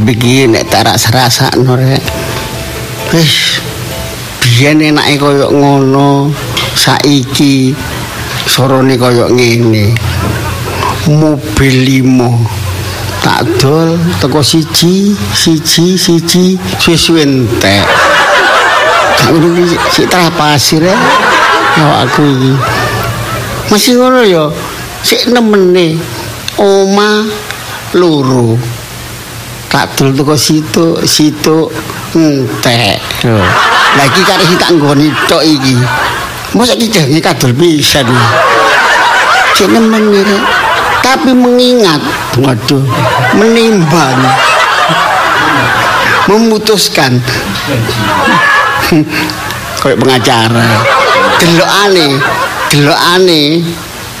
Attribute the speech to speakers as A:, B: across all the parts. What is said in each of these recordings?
A: bikin tak rasa-rasa norek wis biyen enake koyo ngono saiki sorone koyo ngene mobil limo tak dol teko siji siji siji suwe-suwe entek Tak ngono iki sik trah pasir ya awakku iki masih ngono ya sik nemene oma loro tak dol teko situ situ entek
B: Yo.
A: lagi kare sik tak nggoni tok iki mosok iki jange kadol pisan sik nemene Rek. tapi mengingat waduh menimbang memutuskan koyo pengacara delokane delokane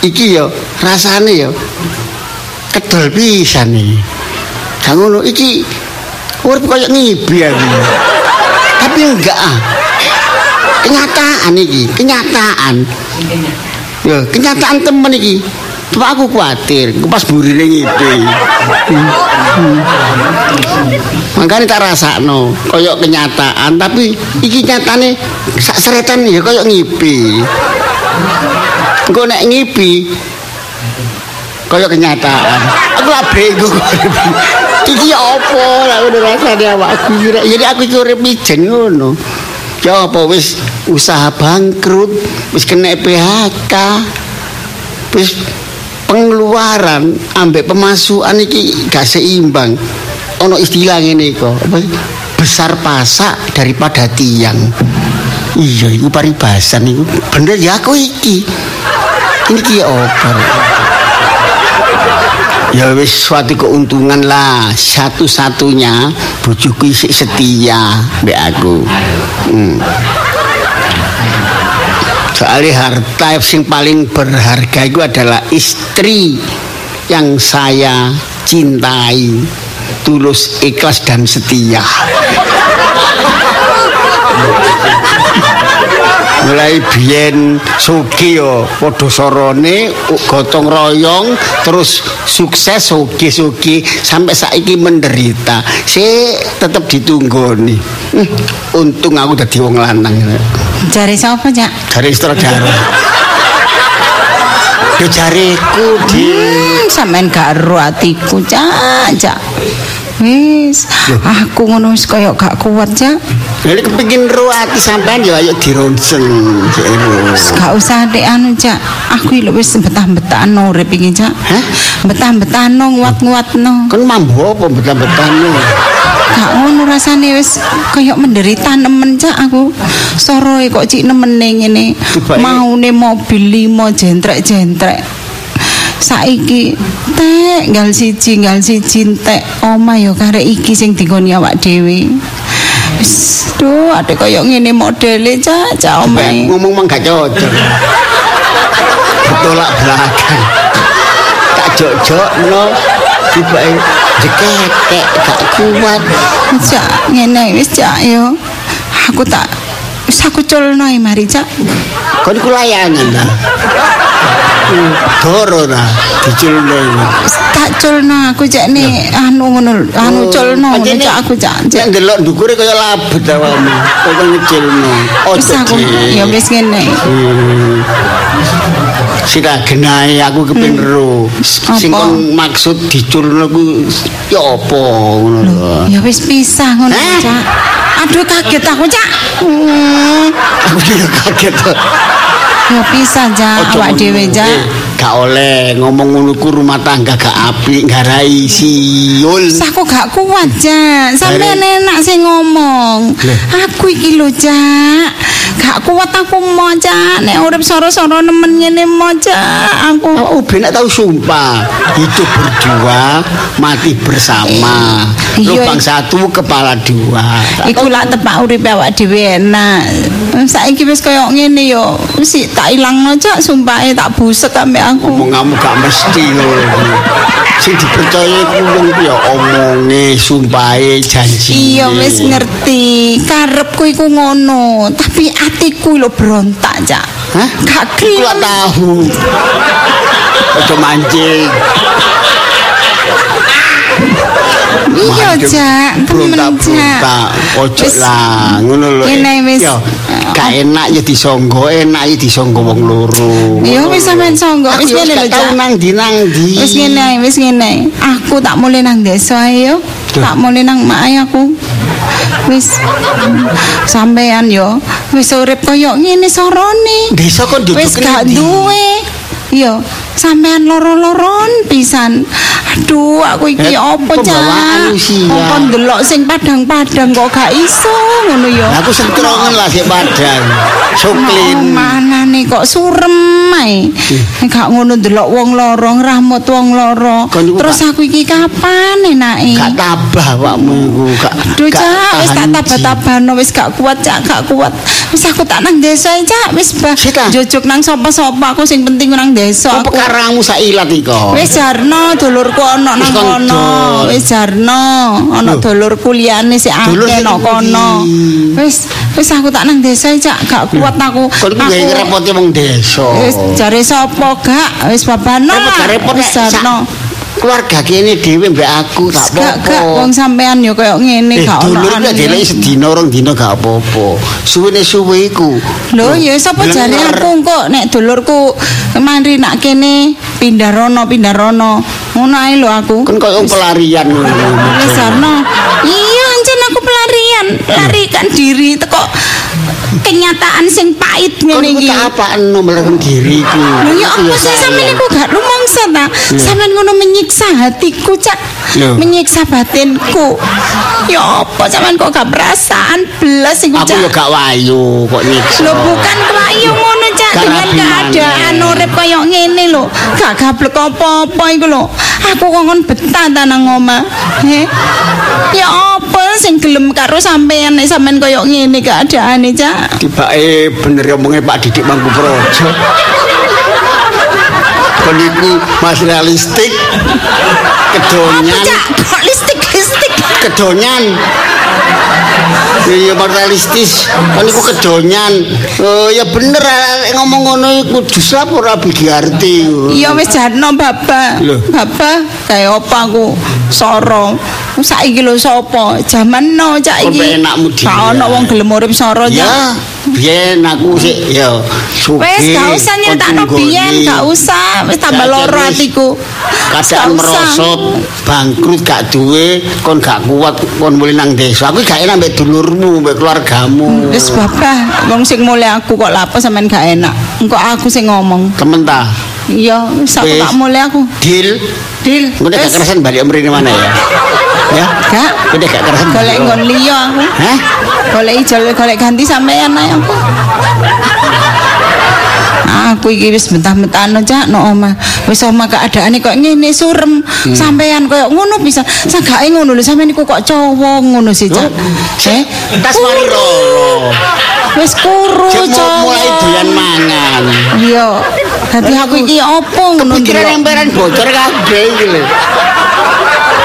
A: iki yo rasane yo kedol pisan iki gak ngono iki urip koyo ngibi aku tapi enggak ah kenyataan iki kenyataan yo kenyataan temen iki Pak aku khawatir, aku pas burine ngipi. Makanya tak rasakno koyok kenyataan, tapi iki nyatane sak seretan ya koyok ngipi. Engko nek ngipi koyok kenyataan. Aku lah bego. iki ya apa lah ngono rasane awakku iki rek. Jadi aku iki urip ijen ngono. Ya apa wis usaha bangkrut, wis kena PHK. Wis pengeluaran ambek pemasukan iki gak seimbang. Ono istilah ngene kok. Besar pasak daripada tiang. Iya, iku paribasan iku. Bener ya aku iki. Ini ki apa? Rek? Ya wis suatu keuntungan lah satu-satunya bojoku isih setia mbek aku. Hmm. Soalnya harta yang paling berharga itu adalah istri yang saya cintai tulus ikhlas dan setia mulai biyen sugi yo padha sorone u- gotong royong terus sukses sugi sugi sampai saiki menderita si tetep ditunggoni Hmm, untung aku dadi wong lanang
C: Jare sapa, Cak?
A: jari istri jari yo jariku di
C: Hmm, sampean gak ero atiku, Cak, Cak. Wis, aku ngono wis koyo gak kuat, Cak.
A: Jadi kepingin ruwati sampean ya ayo dironsen Cik Ero.
C: Gak usah dek anu, Cak. Aku iki lho wis betah-betahan urip iki, Cak.
A: Hah?
C: Betah-betahan nguat-nguatno.
A: Kan mambu apa betah-betah
C: Gak ngono rasane wis koyo menderita nemen, Cak aku. Soroe kok cik nemene ngene.
A: Tiba-tiba-
C: Maune mobil limo jentrek-jentrek. Saiki tek nggal siji nggal siji tek omah ya karek iki sing digoni awak dhewe. Wis, Duh, adek koyo ngene modele, Cak, Cak omahe.
A: ngomong mah gak cocok tolak belakang tak jok-jok no tiba jeketek gak kuat
C: Cak, ngene wis cak yo. Aku tak wis aku culno ae, mari cak.
A: kan iku layangan lah Hmm, doro lah diculno ini
C: Wis Tak culno aku cak ne anu ngono lho, anu culno ngono
A: Pancene-
C: cak aku cak.
A: Oh, nek
C: Cak.
A: ndelok ndukure kaya labet awamu kaya ngecilno
C: Wis
A: ojo
C: aku ya wis ngene.
A: Hmm. Sira genahe aku kepin ro. Sing
C: Hmm. Apa?
A: kon maksud dicurno ku ya apa ngono lho.
C: Ya wis pisah ngono
A: Eh?
C: cak. Aduh kaget aku cak. Hmm.
A: Aku ya kaget. to.
C: Ya pisah cak
A: Ojo ngono.
C: awak dhewe cak.
A: Eh, Gak oleh ngomong ngono ku rumah tangga gak apik, gak rai siul.
C: Wis aku gak kuat cak. Sampeyan enak sing ngomong.
A: Eh. Leh.
C: Aku iki lho cak. Gak kuat aku mau cak. Nek urip soro-soro nemen ngene mau cak. Aku
A: Oh, benak tahu sumpah hidup berdua mati bersama
C: Iya,
A: lubang
C: iya.
A: satu kepala dua
C: Iku lak tepak urip awak dhewe enak. Saiki wis koyo ngene yo. Wis tak ilangno cak sumpahe tak buset ambek aku.
A: Omong kamu gak mesti ngono. Sing dipercaya ku wong ku ya omonge, sumpahe, janji.
C: Iya wis ngerti. Karepku iku ngono, tapi atiku lho berontak cak.
A: Hah?
C: Gak
A: Iku lah
C: gelem.
A: tahu. Ojo mancing.
C: Iya, Cak. Temen, Cak.
A: Brontak-brontak. Ojo
C: Wis.
A: lah, ngono lho.
C: Ngene wis.
A: Yo, gak enak ya disonggo, enak ya disonggo wong loro.
C: Iya,
A: Ngono
C: wis
A: lho.
C: sampean songgo.
A: Aku
C: Wis ngene
A: gak
C: lho,
A: tau
C: Cak.
A: nang di nang di.
C: Wis ngene, ae, wis ngene. ae. Aku tak mulai nang desa ae yo.
A: Duh.
C: Tak mulai nang mak ae aku. Wis sampean yo, wis urip koyo ngene sorone.
A: Desa kok duduk
C: Wis gak
A: ngendi?
C: duwe. Yo, sampean loro-loron pisan. Aduh, aku
A: Eh,
C: iki opo
A: pembawaan
C: cah?
A: usia.
C: Opo ndelok sing padang-padang kok gak iso ngono yo.
A: Aku sentrongan lah sik padang. Soklin.
C: mana nih kok surem ae. Gak ngono ndelok wong loro, rahmat wong loro.
A: Kon iku
C: Terus aku iki kapan
A: Gak
C: enake?
A: tabah awakmu iku, gak.
C: Duh
A: gak
C: cak, wis tak
A: tahan ji.
C: tabah-tabahno wis gak kuat cak, gak kuat. Wis aku tak nang desa ae cak, wis bah.
A: Sita.
C: Jojok nang sapa-sapa aku sing penting nang desa
A: Kok
C: aku.
A: pekarangmu sailat iko.
C: Wis jarno dulurku ana nang
A: Wis kon
C: kono.
A: dol.
C: Wis jarno ana dulurku liyane sik
A: Dulur
C: akeh
A: sing
C: nang kono.
A: pundi?
C: Wis wis aku tak nang desa ae cak, gak kuat aku.
A: Kon iku gak
C: Aku-
A: ngerepoti wong desa.
C: Wis jare sapa gak wis babano
A: Repot gak
C: lah.
A: Eh, repot
C: Wis
A: nek sak
C: jarno.
A: keluarga kene dhewe mbek aku gak
C: Gak
A: apa-apa.
C: gak wong sampean yo koyo ngene
A: Eh,
C: gak ono
A: dulur ya
C: aneh.
A: dhewe sedina rong dina gak apa-apa. Suwene suwe iku.
C: Lho ya sapa
A: Blenger.
C: jane aku kok nek dulurku mari nak kene pindah rono pindah rono ngono ae lho aku.
A: Kon koyo pelarian ngono.
C: Wis Sarno. Iya anjen aku pelarian, larikan diri teko kenyataan sing pahit
A: Kon
C: ngene
A: iku
C: iki.
A: tak apakno melakukan diriku.
C: Lho ya Iya. apa sih sampe
A: sayang.
C: niku gak rumangsa ta? Sampeyan ngono menyiksa hatiku, Cak. Iya.
A: Lho.
C: Menyiksa batinku. Ya apa sampeyan kok gak perasaan belas iku,
A: Aku
C: Cak?
A: yo gak wayu kok nyiksa.
C: Lho bukan kelayu ngono Cak,
A: Gak
C: dengan
A: rapi
C: keadaan
A: maneh.
C: urip koyo ngene lho. Gak gablek apa-apa iku lho. Aku kok ngon betah ta nang omah. He. Ya apa sing gelem karo sampean nek sampean koyo ngene keadaane Cak.
A: Tibake bener omongnya Pak Didik Mangkuprojo. Kon iku mas realistik.
C: Apa
A: Kedonyan.
C: Cak? Kok listik-listik.
A: kedonyan iya moralistis kan iku kedonyan oh ya bener arek ngomong ngono iku jus apa ora biarti
C: Iya wis jarno Bapak.
A: Lho.
C: Bapak kaya apa aku soro. Saiki lho sapa? Jaman no Cak
A: Kon
C: iki.
A: penakmu
C: Gak
A: dhewe.
C: ono wong gelem urip soro Cak.
A: ya biyen aku sik ya sugih
C: Wes gak usah nyetakno
A: kontunggoni.
C: biyen, gak usah. Wis tambah
A: Gak
C: loro
A: usah.
C: atiku.
A: kadang
C: Gak usah.
A: merosot bangkrut gak duwe kon gak kuat kon mulai nang desa aku gak enak mbek dulurmu mbek keluargamu
C: Wis babah, wong sing mulai aku kok lapo sampean gak enak. Engko aku sing ngomong.
A: temen ta
C: Iya, wis aku
A: Wis.
C: tak mulai aku.
A: deal
C: Dil,
A: Kau gak
C: wis
A: kerasan balik mrene mana ya? Ya?
C: Gak.
A: Kau gak kerasan
C: golek
A: balik.
C: nggon liya aku.
A: Hah?
C: Golek ijol golek ganti sampean ae aku. Aku iki wis mentah-mentahno cak no omah. Wis omah keadaane kok ngene surem.
A: Hmm.
C: Sampean koyo ngono bisa. Sagake ngono lho sampean iku kok cowok ngono sih cak. Eh,
A: Tas mari loro.
C: wis kuru
A: Cek
C: Uh, cowok.
A: mau mulai doyan mangan.
C: Iya. Dadi aku iki opo ngono
A: Pikiran
C: ndelok
A: emperan bocor kabeh iki lho.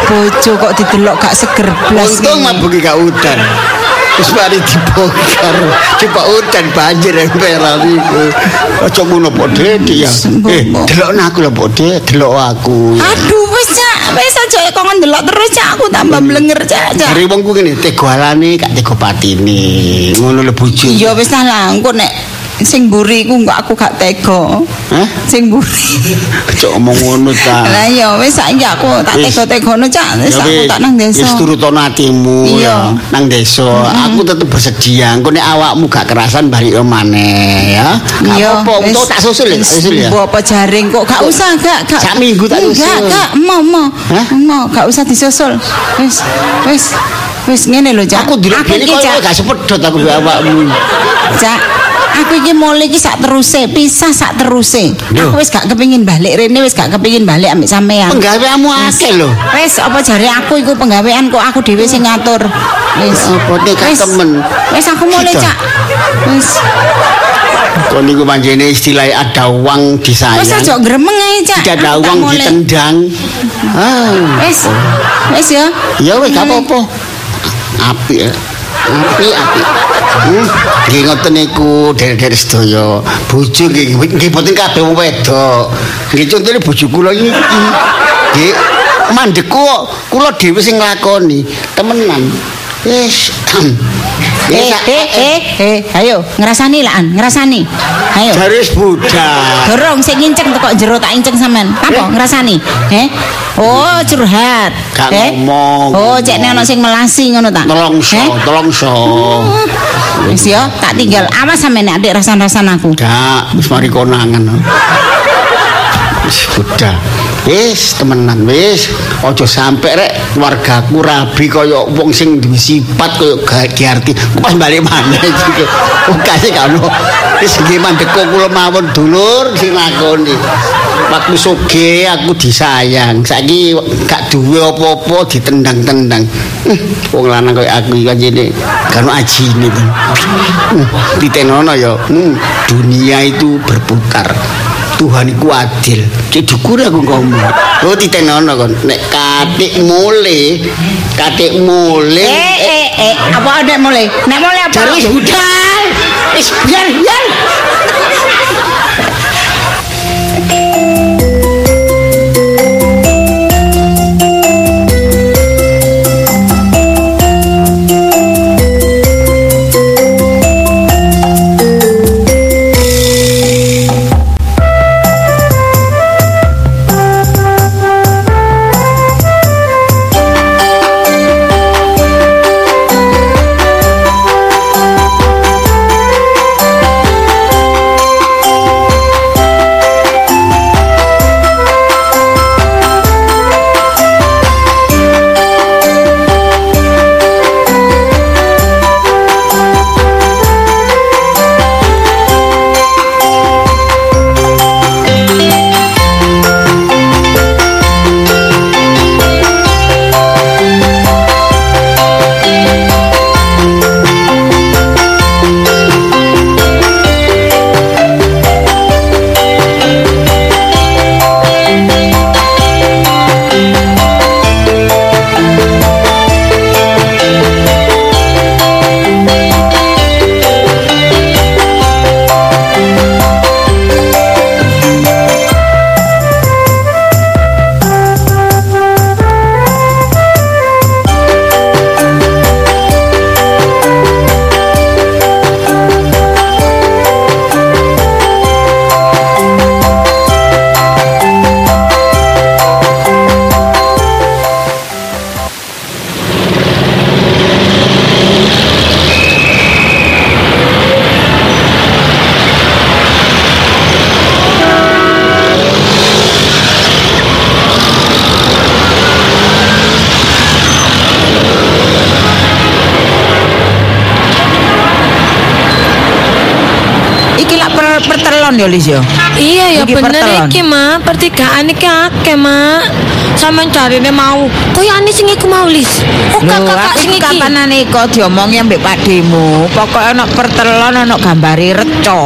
C: bojo kok didelok gak seger blas.
A: Untung
C: ngene.
A: mabuk gak udan. Terus mari dibongkar. Coba udan banjir emperan iku. Aja ngono podhe ya.
C: Mbok,
A: Eh,
C: mbok.
A: delokno aku lho podhe, delok aku.
C: Aduh wis cak, wis aja kok ndelok terus cak aku tambah blenger cak cak.
A: Hari wong ku ngene, tego alane gak tego patine. Ngono lho bojo.
C: Iya wis tak langkut nek sing mburi iku enggak aku gak tega.
A: Hah?
C: Sing mburi.
A: Cok ngomong ngono ta.
C: Lah ya wis saiki aku tak
A: Ah. Wis.
C: tega-tegano cak, wis Eh, aku
A: Tapi,
C: tak nang desa.
A: Wis turutono atimu
C: Iya.
A: ya, nang desa. Aku tetep bersedia. Engko nek awakmu gak kerasan balik yo maneh ya. Gak apa-apa,
C: wis.
A: untuk tak susul ya, tak
C: Wis,
A: susul ya.
C: mbok apa jaring kok gak usah gak gak.
A: Sak minggu tak
C: Enggak,
A: susul.
C: gak mau mau.
A: Hah?
C: Mau gak usah disusul. Wis wis wis ngene lho Cak.
A: Aku dulu
C: iki,
A: ini
C: Cak.
A: kok gak sepedot aku mbek awakmu.
C: Cak, aku iki mulai iki sak teruse, pisah sak teruse.
A: Lho.
C: Aku wis gak kepengin balik rene, wis gak kepengin balik ambek sampean.
A: Penggaweanmu akeh lho.
C: Wis apa jare aku iku penggawean kok aku dhewe sing ngatur. Wis.
A: Apa nek gak
C: Wis.
A: temen?
C: Wis aku mulai,
A: Gitu.
C: Cak. Wis.
A: Kok niku panjene istilah ada uang disayang.
C: Wis aja gremeng ae, Cak.
A: Tidak ada
C: Aku tak
A: uang
C: mulai.
A: ditendang. Ah.
C: Wis. Wis ya.
A: Ya wis gak apa-apa. Apik. ya. Apik apik. Hmm, nggih ngoten niku dherek-dherek sedaya. Bojo nggih nggih boten kabeh wong wedok. Nggih contone bojo kula iki. Nggih mandekku kok kula dhewe sing nglakoni temenan wis
C: Eh,
A: Wis,
C: eh, eh, eh, ayo ngerasani laan, ngerasani. Ayo.
A: jaris budal
C: Dorong sing nginceng tekok jero tak inceng sampean. Apa ngerasani? Eh. Oh, curhat.
A: Gak
C: Eh?
A: ngomong.
C: Oh, cek nek ana sing melasi ngono ta.
A: Telongso,
C: Eh?
A: telongso.
C: Wis ya, tak tinggal. Awas sampean nek adik rasan-rasan aku.
A: Dak, wis mari konangan. Wis budal. Wis temenan wis. Aja sampe rek keluargaku rabi kaya wong sing duwe sifat kaya gak diarti. Pas balik maneh iki. Ukase gak ono. Wis nggih mandeko kula mawon dulur sing lakoni. Waktu soge aku disayang. Saiki gak duwe apa-apa ditendang-tendang. Eh, Wong lanang kaya aku iki anjene gak ono ajine. Hmm, Ditenono ya. Hmm, Dunia itu berputar. Tuhan iku adil. Cek dukur aku ngomong. Lo titenono kon. Nek katik mule, katik mule.
C: Eh, eh, eh, apa nek mulai? Nek mulai apa?
A: Jare wis budal. Wis biar biar.
C: Iki lak per pertelon ya Lis ya.
D: Iya ya
C: Iki pertelon.
D: bener iki mak pertigaan iki akeh mak sampean carine mau koyo ane sing iku mau lis oh
C: Lho,
D: kakak
C: aku
D: sing
C: iki
D: iki
C: kapanane kok diomongi ambek pakdemu. Pokoke ana pertelon ana gambare reca.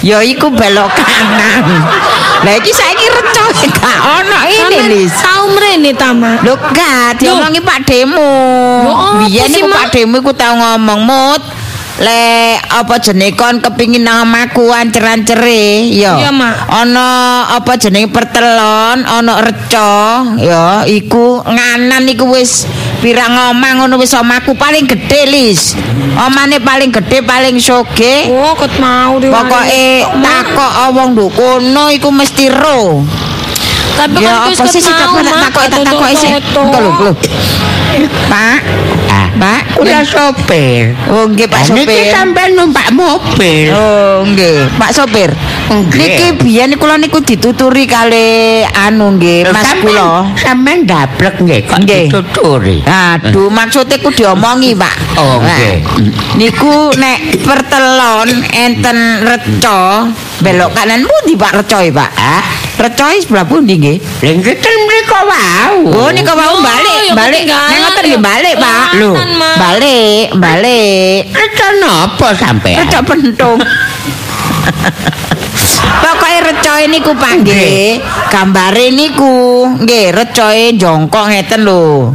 C: Ya iku belok kanan. Lah iki saiki reca gak ono ini
D: Sampean
C: Lis.
D: tau mrene ta mak
C: Lho gak diomongi Pak Demo.
D: Lho, oh, apa
C: Biyen
D: sih,
C: iku
D: Mak?
C: Pak Demo iku tau ngomong mut. Le apa jenenge kon kepingin nang makuan ceran-cere ya.
D: Iya, Mak.
C: Ana apa jenenge pertelon, ana reca ya iku nganan iku wis pirang omah ngono wis omahku paling gedhe Lis. Omane paling gedhe paling soge.
D: oh kot mau diwari.
C: Pokoke
D: Kok mau?
C: takok wong nduk kono iku mesti ro.
D: tapi
C: Ya
D: kan wis
C: apa
D: kot
C: sih sih tak
D: mau mak
C: takoki tak takoki sih.
D: Toto.
C: Entar lho, Ah. lho. Pak, Pak,
E: Udah sopir.
C: Oh nggih Pak
E: Niki
C: sopir.
E: sampean numpak mobil.
C: Oh nggih, Pak sopir.
E: Nggih.
C: Niki biyen kula niku dituturi kali anu nggih Mas
E: Sampean-
C: kula.
E: Sampean dablek nggih kok
C: Nggih.
E: dituturi.
C: Aduh, maksudnya ku diomongi, Pak.
E: Oh, nggih.
C: Nah, Niku nek pertelon enten reca, belok kanan pundi Pak reca e, Pak? Hah? Reca e sebelah pundi nggih?
E: Lha iki ten mriko wau.
C: Oh, nika wau balik,
D: ya
C: balik.
D: ketinggalan,
C: Nang ngoten
D: ya.
C: nggih balik, Pak.
D: Kelelahan,
C: Lho,
D: Mak.
C: balik, balik.
E: Reca napa sampean?
C: Reca pentung. Pokoke recoe niku Pak nggih. Gambare niku nggih recoe jongkok ngeten lho.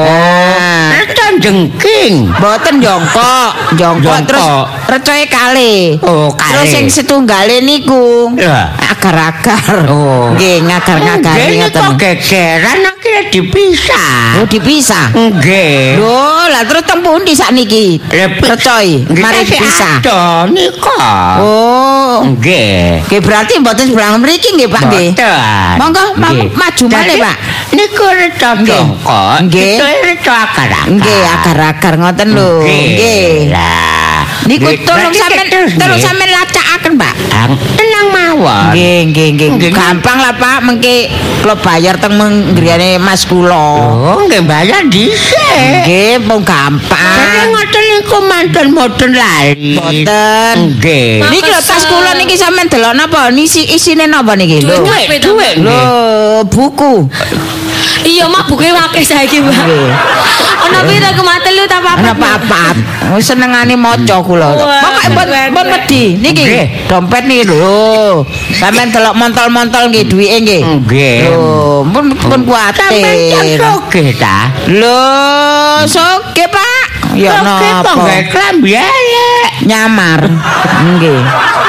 E: Oh. Itu jengking.
C: Boten jongkok, jongkok
E: Jongkok.
C: terus recoe kale.
E: Oh, kale.
C: Terus sing setunggale niku
E: Ya.
C: agar-agar.
E: Oh.
C: Nggih, ngagar-ngagar
E: Nggih,
C: ngeten.
E: kok gegeran akhirnya dipisah.
C: Oh, dipisah.
E: Nggih.
C: Lho, lah terus teng pundi sakniki?
E: Lepi-
C: Recoe,
E: Eh, Nggih,
C: mari
E: kasih
C: dipisah.
E: Ada nika.
C: Oh,
E: Nggih.
C: nggih berarti mboten seberang mriki nggih Pak nggih.
E: Boten.
C: Monggo, ma-
E: Nggih.
C: maju malih,
E: Jadi,
C: Pak.
E: Niku reca jongkok.
C: Nggih.
E: Itu reca akar-akar.
C: Nggih, agar-agar ngoten lho. Nggih.
E: Lah.
C: Niku
E: Nggih,
C: tolong
E: berarti
C: sampean
E: ketus,
C: tolong
E: nggih.
C: sampean lacakaken, Pak.
E: Ang tenang mawon.
C: Nggih, nggih, nggih.
E: Nggih.
C: Gampang lah, Pak. Mengke kula bayar teng menggriane Mas kula.
E: Oh, nggih bayar dhisik.
C: Nggih, Ah. mung
E: Jadi
C: gampang.
E: ngoten niku mantan modern lali.
C: Boten.
E: Nggih.
C: Niki lho tas kula niki sampean delok napa? Nisi isine napa niki? Lho.
D: Duitnya
E: Duit, duit.
C: Lho, buku.
D: Iya, mak buke wakil saiki, Mbak.
C: Nggih.
D: Ono pira kumatel lu tak apa-apa.
C: Iya. Ana papat. Wis senengane maca kula.
D: Wah,
C: Pokoke pun
D: keren,
C: pun
D: keren.
C: wedi niki.
E: Nggih.
C: Dompet niki lho. Sampeyan delok montol-montol nggih duwike nggih.
E: Nggih.
C: Lho, pun pun
E: Sampeyan
C: kuatir.
E: soge ta?
C: Lho, soge Pak. Ya
E: Soge kok nggak
C: napa?
E: klambi elek.
C: Nyamar. Nggih.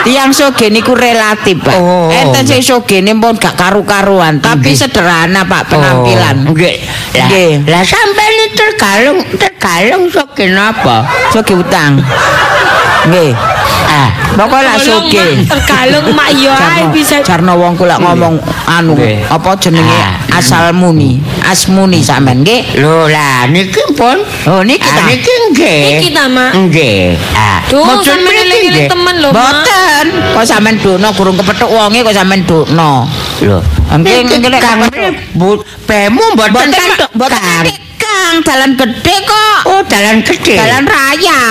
C: Tiang soge niku relatif, Pak.
E: Oh.
C: Enten sing sogene pun gak karu-karuan, tapi
E: Nggih.
C: sederhana Pak penampilan.
E: Oh, Nggih. Lah,
C: Nggih.
E: lah sampeyan ini tergalung tergalung soge napa?
C: Soge utang. Nggih.
E: Ah,
C: Pokoke lak
D: Tolong,
C: soge.
D: Mak, Terkalung mak yo ae
C: Jarno-
D: Iya, bisa.
C: Jarno wong kula ngomong anu
E: Nggih.
C: apa jenenge
E: Ah.
C: asal muni, asmuni sampean nggih.
E: lho lah niki pun.
C: Oh niki
E: Ah,
C: ta.
E: niki nggih.
D: Niki ta, Mak.
E: Nggih. Ah,
D: Duh,
E: maksud
D: sampean
E: niki
D: eling-eling
E: nggih.
D: temen lho, Mak.
C: Boten, kok sampean dono gurung kepethuk wonge kok sampean dono.
E: Lho,
C: Nggih, nggih, lek
E: Kang
C: kepethuk.
E: Bu- pemu mboten
C: Boten
E: katok,
C: boten
E: Kang.
C: Dik, Kang, dalan gede kok.
E: Oh, dalan gede.
C: Jalan raya,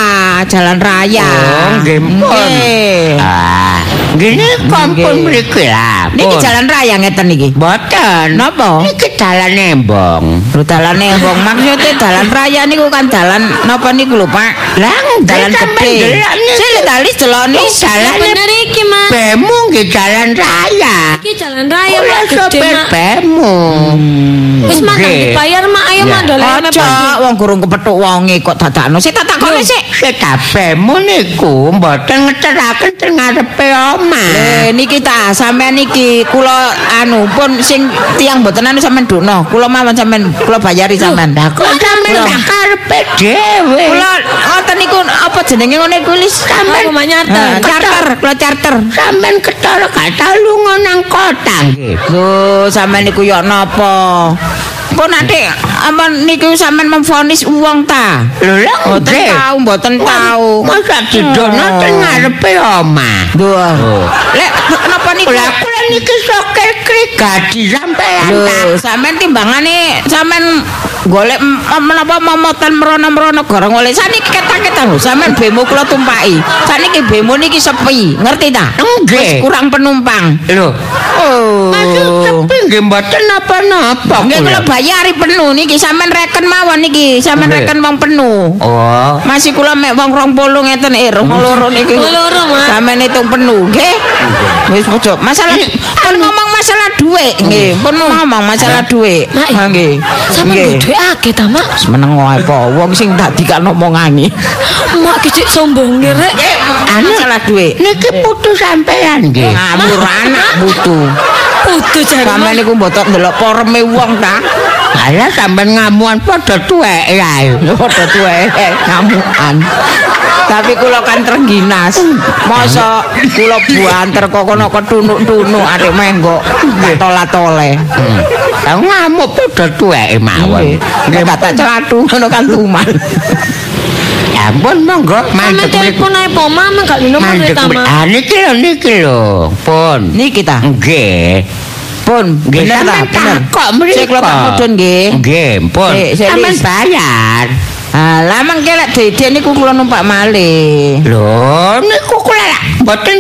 C: jalan raya.
E: Oh, nggih pun.
C: Nggih.
E: Ah, gini kampung
C: Nggih.
E: mriki lah.
C: Niki
E: pun.
C: jalan raya ngeten iki.
E: boten.
C: Napa?
E: Oh. Niki dalan nembong.
C: Lho dalane wong maksudnya dalan raya niku kan dalan napa niku lho Pak?
E: Lah, nggih,
C: dalan
E: sampean
C: gede.
E: delok niku.
C: Sile dalis delone dalan
D: Bener iki, Mak.
E: Pemu nggih jalan raya.
D: Iki jalan raya
E: Ora
D: mak gede,
E: sopir
D: Mak. Hmm.
E: pemu.
D: Wis mak nang
E: Nggih.
D: dibayar mak ayo mak
E: Ya.
D: dolek mek
C: Aja wong gurung kepethuk wonge kok dadakno. Sik tak takone sik.
E: Kita pemu niku mboten ngeteraken teng ngarepe omah.
C: Eh niki ta sampean niki kula anu pun sing tiang mboten anu sampean dukno. Kula mawon sampean kula bayari sampean. Lah
E: Kok sampeyan gak karepe dhewe.
C: kula ngoten niku apa jenenge ngene kuwi Lis?
D: Apa, Mak, nyarter?
C: Eh, charter, kula charter.
E: Sampeyan ketara gak tau lunga nang kota nggih.
C: Lho, sampean niku yo napa? Pun ate ampun niku sampean memvonis uang ta?
E: Lho lha
C: Mboten
E: nggih.
C: tahu, mboten tahu.
E: Masa
C: Ah.
E: didono teng ngarepe omah.
C: Lho. Lek kenapa niku?
E: Lah kula niki sokel krik gaji sampeyan ta.
C: Lho, sampean timbangane sampean golek m- menapa momotan merono-merono gara golek saniki ketak-ketak lho sampean bemo kula tumpaki. Saniki bemo niki sepi, ngerti ta?
E: Nggih.
C: Wis kurang penumpang.
E: Lho.
C: Oh.
E: Masuk sepi nggih mboten apa-napa.
C: Nggih
E: kula.
C: kula bayari penuh niki sampean reken mawon niki, sampean
E: Nggih.
C: reken wong penuh.
E: Oh.
C: Masih kula mek wong 20 ngeten eh rong loro niki.
D: Rong loro, Mak.
C: Sampeyan hitung penuh nggih. Wis ojo masalah pun ngomong masalah dhuwit nggih, pun ngomong masalah dhuwit.
D: Mak,
C: Ha nah, nggih.
D: Sampe
C: Nggih.
D: duwe akeh ta mak?
C: Meneng wae apa wong sing tak dikakno omongane.
D: Mak kecik sombong rek.
C: Anu masalah dhuwit.
E: Niki putu sampeyan nggih.
C: Ngamur anak butuh.
D: Kudu
C: Sampeyan
D: jarno.
C: niku mboten ndelok poreme wong ta.
E: Ala sampeyan ngamuan padha tuwek ae.
C: Padha tuwek ngamukan. Tapi kula kan terengginas. Masa kula buanter kok kono ketunuk-tunuk atik menggok tola-tole.
E: Hmm. Lah ngamuk padha tuwek mawon.
C: Nggih tak celatu ngono kan tuman.
E: Ya ampun monggo
D: Sampe
E: mandek mriku.
D: telepon ae poma mak gak nomor
E: Mandek
D: ta
E: mriku.
D: mak.
E: Ah niki lho niki lho. Pun.
C: Niki ta.
E: Nggih.
C: Pun
E: Nggih,
C: bener ta,
E: sampean
C: bener.
E: Ah. takok mriko.
C: Sik kula tak mudhun nggih.
E: Nggih, pun.
C: Sik, sik,
E: Sampeyan
C: Lis.
E: bayar.
C: Alah mengke lek dede niku kula numpak malih.
E: Lho, niku kula lak mboten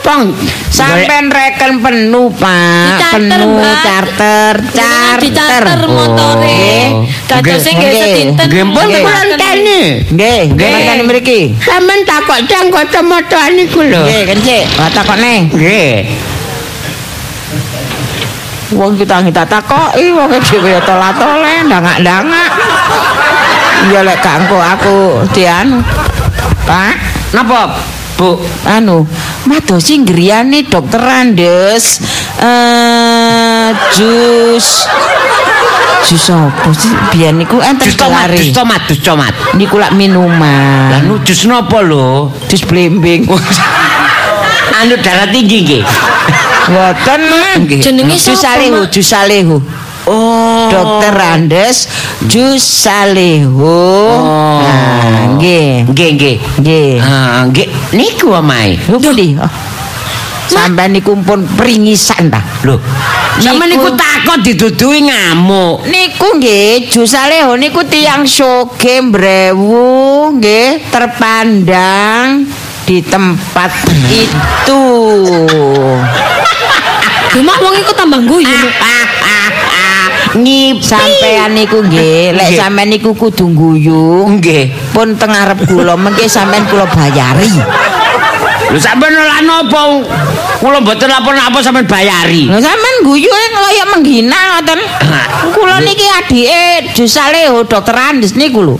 C: Bang, sampean reken penuh, Pak.
D: Dicater,
C: penuh
D: Mbak.
C: charter,
D: Jenengan dicater
C: charter.
D: motore.
C: Oh.
D: Dados sing nggih
C: Nggih.
D: sedinten.
E: Nggih, pun
C: Nggih.
E: kula enteni.
C: Nggih,
E: Nggih.
C: ngene mriki.
E: Sampeyan takok jang kacamata niku lho.
C: Nggih, kencik. Wah takokne.
E: Nggih.
C: Wong kita kita takoki wong dhewe tola-tole ndangak-ndangak. Iya lek gak engko aku dianu. Pak,
E: Napa, Bu?
C: anu, madosi griyane dokteran, Des. Eh, jus jus apa sih biyen niku enten
E: Jus tomat,
C: gelare.
E: jus tomat, jus tomat.
C: Niku lak
E: Lah
C: minuman.
E: nu jus napa lho?
C: Jus blimbing.
E: Anu darah tinggi nggih.
C: Mboten nggih.
D: Jenenge
C: Jus
D: sapa,
C: Salehu,
D: Mak?
C: Jus Salehu.
E: Oh.
C: Dokter Andes Jus Salehu.
E: Oh.
C: Nah, nggih.
E: Nggih, nggih.
C: Nggih.
E: Ah, nggih. Niku omahe.
C: Lho pundi? Oh. Sampeyan niku pun pringisan ta.
E: Lho. Sama
C: Niku-
E: niku takut diduduhi ngamuk.
C: Niku nggih, Jus Salehu niku tiyang soge mbrewu nggih terpandang di tempat itu.
D: Cuma wong iku tambah guyu. Mak.
C: Ngipi. Sampeyan niku nggih, lek
E: Nggih.
C: sampeyan niku kudu guyu.
E: Nggih.
C: pun teng arep kula mengke sampean kula bayari.
E: Lho sampean ora napa? Kula mboten apa-apa sampean bayari.
C: Lho sampean guyu kaya menghina ngoten. Kula niki adike Jusaleho Dokter Andes niku lho.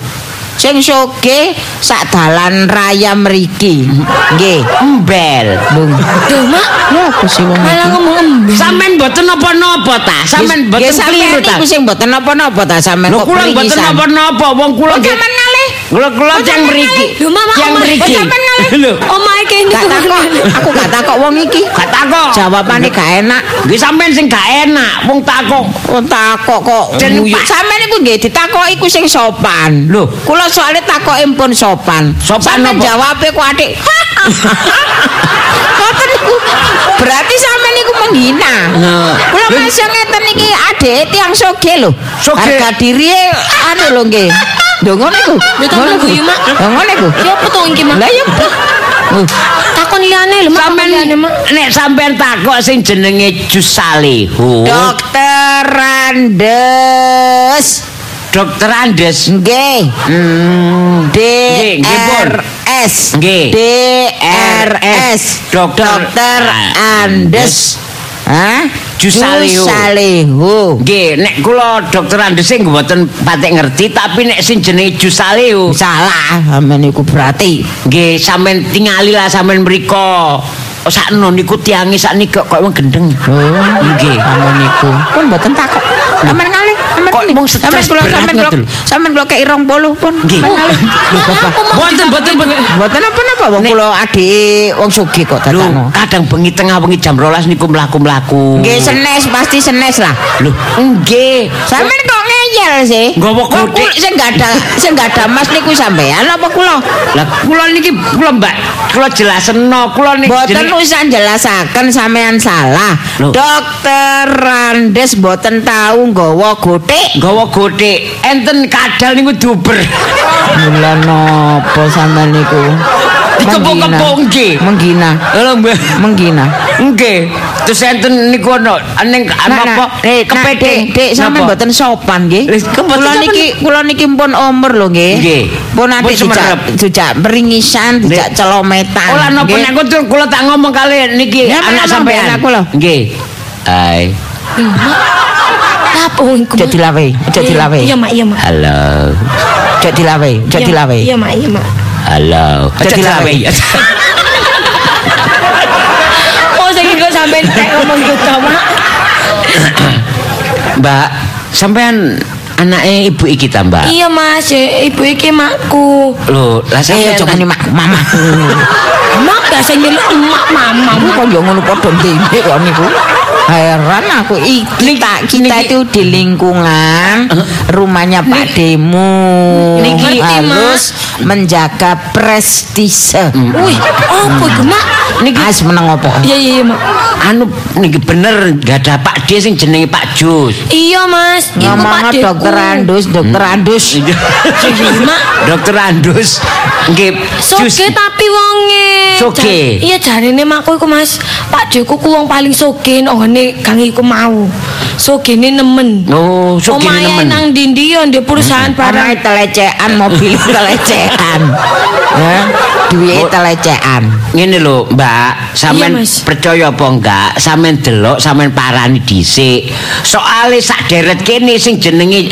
C: Sing soge sak dalan raya mriki. Nggih.
E: Embel.
C: Bung.
D: Duh, Mak,
C: Ya aku sih wong
D: malah
C: iki.
D: ngomong embel.
E: Sampean mboten napa-napa ta? Sampean
C: Nggih,
E: mboten
C: sampean
E: keliru ta?
C: niku sing mboten napa-napa ta sampean
E: Lho
C: kok
E: kula mboten
C: pringisan.
E: napa-napa, wong kula
C: Kok
E: nggih.
C: sampean ngalih?
E: Lho kula yang mriki.
D: Lho, Mak, Mak,
E: Yang
D: omah-
E: mriki.
D: Oh, sampean ngalih.
E: Lho.
D: Omahe kene
C: Gak takok, aku gak takok wong iki.
E: Gak takok.
C: Jawabane gak enak.
E: Nggih sampean sing gak enak, wong takok.
C: Kok Oh, takok kok
E: Dan
C: guyu.
E: Pak-
C: Sampeyan niku nggih ditakoki ku sing sopan.
E: Lho.
C: kula soalnya takoke pun sopan.
E: Sopan
C: Sampeyan
E: apa?
C: jawabe ku adik. Ngoten niku. Berarti sampeyan niku menghina.
E: Nah.
C: Kula masih ngeten iki adik tiyang soge lho.
E: Soge.
C: Harga diri anu lho nggih. Lho ngono iku.
D: Lho, tambah
C: Ngono iku.
D: guyu, Mak.
C: Lho ngono iku.
D: Siapa to iki, Mak?
C: Lah ya.
E: Oh.
C: Lho.
D: Takon liyane lho, Mak. Takon liyane, Mak.
E: Nek sampean takok sing jenenge Jus Salehu.
C: Dokter Randes.
E: Dokter Andes.
C: Nggih. D
E: Nggih, nggih, Pun.
C: R S
E: Nggih.
C: D R S
E: Dokter-
C: Dokter Andes Hah?
E: Jusalehu.
C: Jusalehu.
E: Nggih, nek kula dokter Andes sing mboten patek ngerti, tapi nek sing jenenge Jus Salehu.
C: Salah amen iku berarti.
E: Nggih, sampean tingali lah sampean mriko. Oh, Sakno niku tiange sakniki kok wong gendeng. Nggih.
C: Amen iku. Pun mboten takok. Amen kalih. Amen
E: Kok mung stres
C: Amen kula
E: berat
C: sampean kula
E: ngoten lho.
C: sampean kula kei 20 pun.
E: Nggih.
C: Amen kalih.
E: Mboten mboten mboten.
C: Mboten apa-apa wong
E: Nek-
C: kula adike wong sugih kok
E: Lho,
C: tatano.
E: kadang bengi tengah bengi jam 12 niku mlaku-mlaku.
C: Nggih senes pasti senes lah.
E: Lho, nggih.
C: Sampeyan kok ngeyel sih?
E: Nggawa
C: Kok
E: kodik.
C: kul- Sing gak ada sing gak ada mas niku sampean apa kula?
E: Lah kula niki kula Mbak, kula jelasno kula niki
C: Boten
E: jeneng-
C: usah jelasaken sampean salah.
E: Loh.
C: Dokter Randes boten tahu nggawa gotik.
E: nggawa gotik enten kadal niku duber.
C: Mula napa sampean niku?
E: Dikepung-kepung nggih.
C: Menggina.
E: Lho, Mbak.
C: Menggina.
E: Nggih. Terus enten niku ono ning apa
C: eh, nak, Dek,
E: kepethik.
C: dek sampean
E: Napa?
C: mboten sopan nggih.
E: Lih, kok mboten
C: Kula
E: sopan?
C: niki kula niki pun umur lho nggih.
E: Nggih.
C: Pun nanti
E: Pun semerep.
C: dijak dijak beringisan, dijak celometan.
E: Ola napa
C: nggih.
E: nek aku tur kula tak ngomong kali niki
C: Ya, mana
E: anak sampean.
C: aku lho.
E: Nggih. Hai.
D: Lho, Mak. Apa wong iku?
C: Ojo
D: Mak?
C: dilawe, ojo
D: Iya,
C: dilawe.
D: Iya, Mak, iya, Mak.
E: Halo.
C: Ojo dilawe, ojo
D: Iya, Mak.
C: dilawe.
D: Iya, Mak, iya, Mak.
E: Halo.
C: Jadi lawe.
D: Oh, saiki kok sampean tek ngomong iku to, Mak.
E: Mbak, sampean anaknya ibu iki ta, Mbak?
D: Iya, Mas, ya, ibu iki makku.
E: Lho, lah
C: Eh,
E: sampean
C: ojo ngene mak, mama.
D: Mak biasa nyeluk emak mama.
C: Kamu kok yo ngono padha ndene kok niku. Heran aku iki tak kita itu di lingkungan rumahnya Pak Demu.
D: Niki-
C: Harus menjaga prestise.
D: Wih, apa iku, Mak?
C: Niki as meneng opo?
D: Hmm. Iya, iya, iya, Mak.
E: anu niki bener gak ada Pak D sing jenenge Pak Jus.
D: Iya, Mas. Iku
C: Ngomong
D: Pak
C: dokter Andus,
E: Hmm.
C: dokter Andus.
D: Mak,
E: Dokter Andus nggih Jus.
D: soge tapi wonge.
E: Soge.
D: jar- Iya jarine makku iku Mas. Pak Joko ku wong paling soge nang ngene gang iku mau. Sogene nemen.
E: Oh, sogene
D: Omahe
E: nemen. Hmm.
D: nang ndi-ndi yo ndek perusahaan
C: Barang
D: barang.
C: telecekan mobil telecekan. Ya,
E: Oh.
C: duwe telecekan.
E: Ngene lho, Mbak,
D: Iya,
E: sampean
D: Mas.
E: percaya apa enggak? Sampean delok, sampean parani dhisik. Soale sak deret kene sing jenenge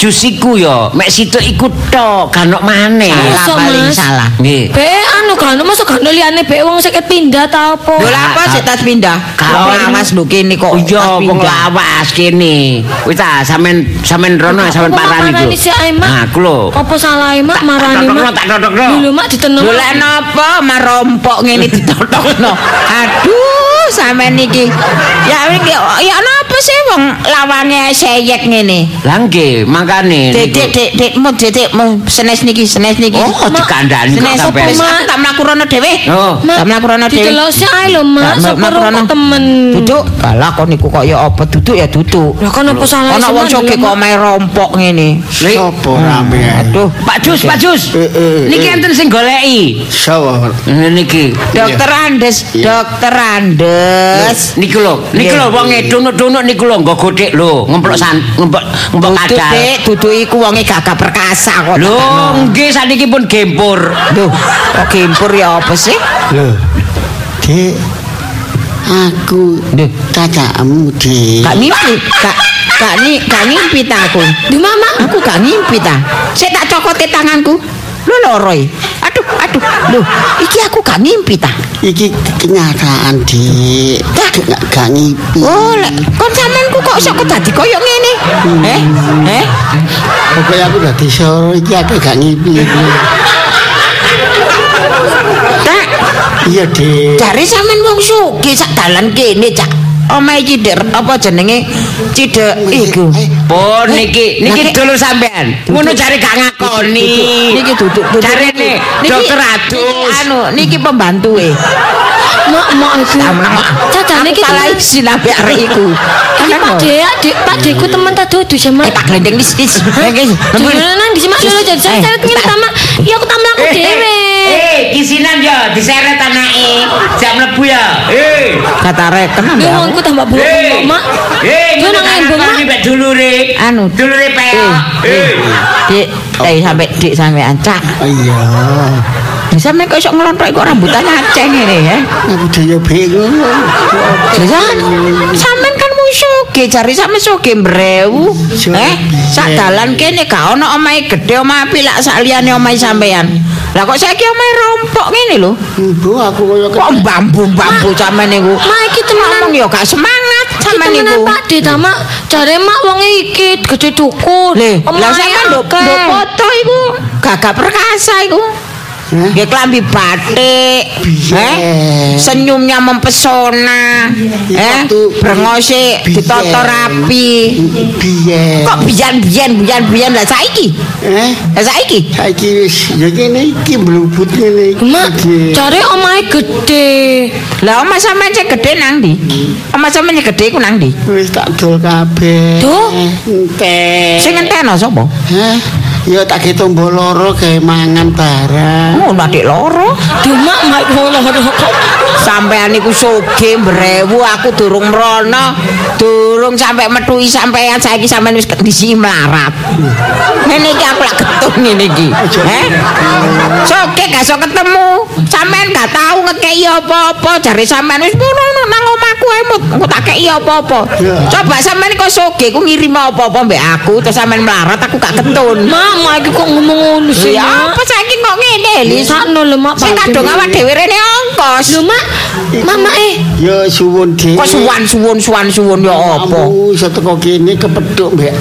E: jus iku ya, mek situ iku tok, gak ono maneh.
C: Salah,
D: Masa,
C: paling
D: Mas?
C: salah.
E: Nggih.
D: Be anu kan masuk gak ono liyane be wong seket pindah ta apa?
C: Lho lah apa sik tas pindah?
E: Kau-
C: Kau awas lho kene kok. tas
E: Iya, wong
C: pindah.
E: lawas kene. Wis ta, sampean sampean rono, sampean
D: Apa mak
E: parani
D: marani
E: iku.
D: sik ae, Mak?
E: Nah, ku lho.
D: Apa salah mak marani
E: tak
D: mak?
E: totokno, tak totokno.
D: Lho, Lho mak ditenem.
C: Lho lek napa marompok ngene ditotokno. Aduh, sampean niki. Ya iki ya napa sih wong lawange seyek ngene.
E: Lah nggih, makane.
C: Dedek dek dekmu dedekmu senes niki senes niki.
E: Oh, dikandani kok
C: Senes
E: sampean.
C: wis aku tak mlaku rono dhewe.
E: Oh.
C: tak mlaku rono dhewe.
D: Ditelok sik ae lho
C: Tak
D: mak.
C: mlaku
D: Sopo
C: rono.
D: kok temen.
C: Duduk. Alah kok niku kok ya apa duduk ya duduk.
D: Lah kan apa salah
C: Ana wong soge kok main rompok ngene.
A: Sopo rame.
C: Aduh,
E: Pak Jus, Pak Jus.
A: Eh, eh,
E: Niki
A: eh.
E: enten sing goleki.
A: Sapa?
E: Niki.
C: Dokter Andes,
A: Iya.
C: dokter Andes.
E: Niku lho, niku lho wong dunuk-dunuk niku lho nggo godhek lho, ngemplok san, ngemplok ngemplok
C: Duduk
E: kadal.
C: dek, duduk iku wonge gagah perkasa kok.
E: Lho,
C: takno.
E: nggih saniki pun gempur.
C: Duh, kok gempur ya apa sih?
E: Iya.
A: Lho. Dik. Aku
C: Duh.
A: kakakmu, Dik.
C: Gak mimpi, gak gak ni gak ngimpi ta aku. Duh mama, aku gak ngimpi ta. Sik tak cokote tanganku. Lho loro e. Aduh, aduh. Lho, iki aku gak ngimpi ta.
A: Iki kenyataan, Dik. Gak gak ngipi.
C: Oh, lek kon sampeanku kok iso dadi koyo ngene. Eh? Eh?
A: Pokoknya aku udah disoro iki aku gak ngipi.
C: Tak
A: Iya, Dik.
C: jare sampean wong sugih sak dalan kene, Cak. Omahe Cider apa jenenge? Cider iku.
A: Eh,
E: Pun niki,
C: Niki-
E: niki dulur sampean. Ngono jare gak ngakoni.
C: Niki duduk duduk.
E: Jarene
C: Niki-
E: dokter
C: niki
E: adus.
C: Anu, niki pembantuwe.
D: Mak mak iku. Cadane
C: Cadane iki
D: iki
C: salah
D: temen.
C: isin ambek arek iku.
D: Iki Pak Dek, Dek, Pak Dekku temen ta dudu sama.
C: Eh tak glendeng wis wis. Nggih.
D: Dulu nang di simak dulu jadi saya seret ngene sama. Ya aku tambah aku dhewe.
E: Eh, kisinan yo diseret anake. Jak mlebu ya. Eh.
C: Kata arek tenan
D: Lho
C: ya.
D: wongku tambah
E: Eh,
D: bolong mak.
E: Eh,
D: Yo
E: ngono
D: nang
E: nang
D: embung mak.
E: mbok mek dulure.
C: Anu.
E: Dulure peok.
C: Eh.
E: Eh.
C: Dik, eh sampe dik sampean cak.
A: Oh, Iya.
C: Sampe kok iso ngelontok kok rambutan aceng ngene ya.
A: Aku dhewe bingung.
C: Jajan, sampean kan musuge, jari sampean suge mbrewu. Eh, sak dalan kene gak ono omahe gedhe, omah pilak sak liyane omahe sampean. Lah kok saiki omahe rompok ngene lho.
A: Bu, aku koyo
C: Kok bambu-bambu sampean niku.
D: Mak iki temenan.
C: Ngomong ya gak semangat
D: Iki
C: sampean
D: temenan
C: niku.
D: Pak Dek ta mak. Jare mak wong iki gede dukur.
C: Lih, lah
D: Omahe
C: sampean nduk
D: akeh.
C: nduk foto iku gagak perkasa iku.
A: Hah?
C: Nggih klambi batik.
A: Biye.
C: Eh, senyumnya mempesona. Eh,
A: Itu-
C: brengose
A: Biye.
C: ditoto rapi.
A: biyen.
C: Kok biyen-biyen biyen-biyen lah saiki?
A: Eh,
C: Lah saiki.
A: saiki wis ya kene iki mlebut ngene iki.
D: Mak,
A: Dik.
D: jare omahe gedhe.
C: Lah omah sampean sing gedhe nang ndi? Omah sampean sing gedhe iku nang ndi?
A: wis tak dol kabeh.
D: Duh.
A: entek.
D: Eh.
C: Sing ngenteno sapa?
A: Hah? Ya tak ge tombo loro gawe mangan barang.
C: Ngono adik loro.
D: Duh mak mak ngono kok.
C: Sampean niku soge mbrewu aku durung mrono, durung sampe metuhi sampean saiki sampean wis kondisi melarat. Ngene iki aku lak getun ngene iki. Heh. Soge gak iso ketemu. Sampean gak tau ngekeki apa-apa jare sampean wis mrono nang omahku ae mut aku tak kei apa-apa. Coba sampean kok soge ku ngirim apa-apa mbek aku terus sampean melarat aku gak ketun.
D: Mak mak iki kok ngomong ngono sih.
C: Ya
D: Mak?
C: apa saiki kok ngene
D: Li
C: Lis?
D: sakno lho mak.
C: Sing
D: Pak Dek.
C: kadung awak dhewe rene ongkos.
D: Lho mak, mama eh
A: Ya suwun Dik.
C: Kok suwan suwun suwan suwun ya apa?
A: Kamu iso teko kene kepethuk mbek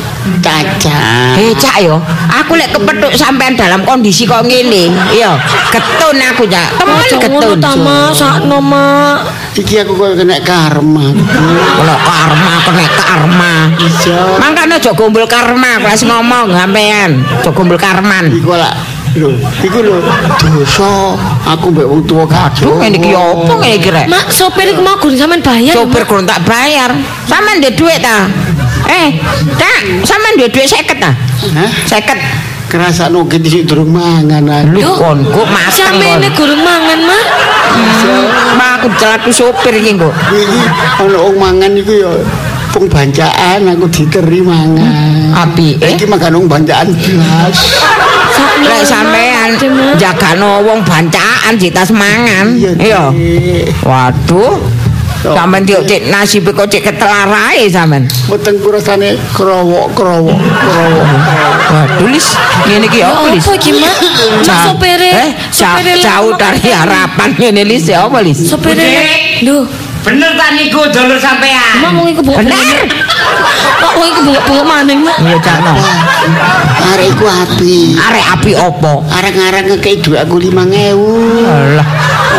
A: Caca.
C: Eh cak yo, aku lek kepethuk sampean dalam kondisi kok ngene. Iya, ketun aku cak. Temen
D: Aja ngono
C: ketun.
D: ta mak, sakno mak.
A: Iki aku koyo kena karma.
C: Lho karma kena karma.
A: Iya.
C: Mangkane aja gombol karma, kelas ngomong sampean. Aja gombol karman.
A: Iku lak lho, iku lho dosa aku mbek wong tuwa kadung.
C: Duh, ngene iki apa ngene iki rek?
D: Oh. Mak sopir iku mau gur sampean bayar.
C: Sopir
D: Mak.
C: kurang tak bayar. Sampean ndek dhuwit ta? Eh, Cak, sampean ndek dhuwit 50 ta?
A: Hah?
C: 50.
F: kerasa no gede durung mangan ah. aku.
C: Lu kon kok mateng kon.
D: Sampeyan gurung mangan, Mak.
C: Mak aku jelaku sopir iki kok.
F: Iki ana wong mangan iku ya pung bancaan aku diteri mangan.
C: Apike
F: Iki makan wong bancaan blas.
D: Sakno,
C: lek
D: Mak,
C: sampean
D: Ade, Mak.
C: jagano wong bancaan di tas mangan.
F: Iya, Dik.
C: Iya. Waduh.
F: Yo.
C: Sampeyan diok cek nasib kok cek ketelarae sampean.
F: Weteng kurasane krowok-krowok krowok.
C: Waduh lis ngene iki
D: Ya
C: ya apa lis?
D: apa iki, Mak? Mak
C: Jauh-
D: sopere,
C: eh, jauh,
D: sopere
C: jauh
D: lama
C: dari
D: kan?
C: harapan ngene lis ya apa lis?
D: Sopere. Lho,
E: Bener ta niku dulur sampean?
D: Mak wong iku bengok-bengok. Mak wong iku bengok-bengok maning, Mak.
C: Iya cakno.
F: Arek iku api.
C: Arek api opo?
F: Arek-arek ngekei duit aku 5000.
C: Alah.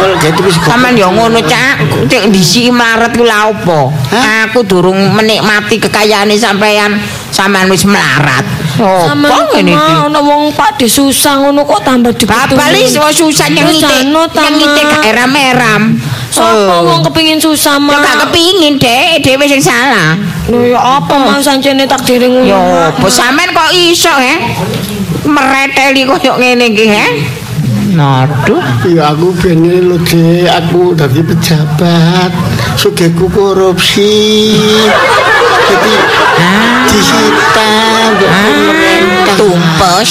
F: Oh, gitu wis kok.
C: Sampeyan ya ngono cak, cek disiki melarat ku lha opo?
F: Hah?
C: Aku durung menikmati kekayaane sampeyan, sampeyan wis melarat.
D: Sama
C: Opo ngene iki?
D: Mak ono wong Pak De susah ngono kok tambah dikutuk.
C: Bapak lis wah susah nyengite,
D: Susah, no, Tama.
C: nyengite gak eram-eram.
D: Sopo wong kepengin susah,
C: Lah gak
D: Mak?
C: kepingin deh, dhewe sing salah.
D: Lho ya apa, Mak sancene takdire ngono.
C: Yo,
D: Mak.
C: opo sampean kok iso he? Mereteli koyo ngene iki he? Aduh.
F: Ya aku bene lho Dek, aku dadi pejabat. Sugihku korupsi. Jadi disita ndek
C: Ah,
F: pemerintah.
C: Tumpes.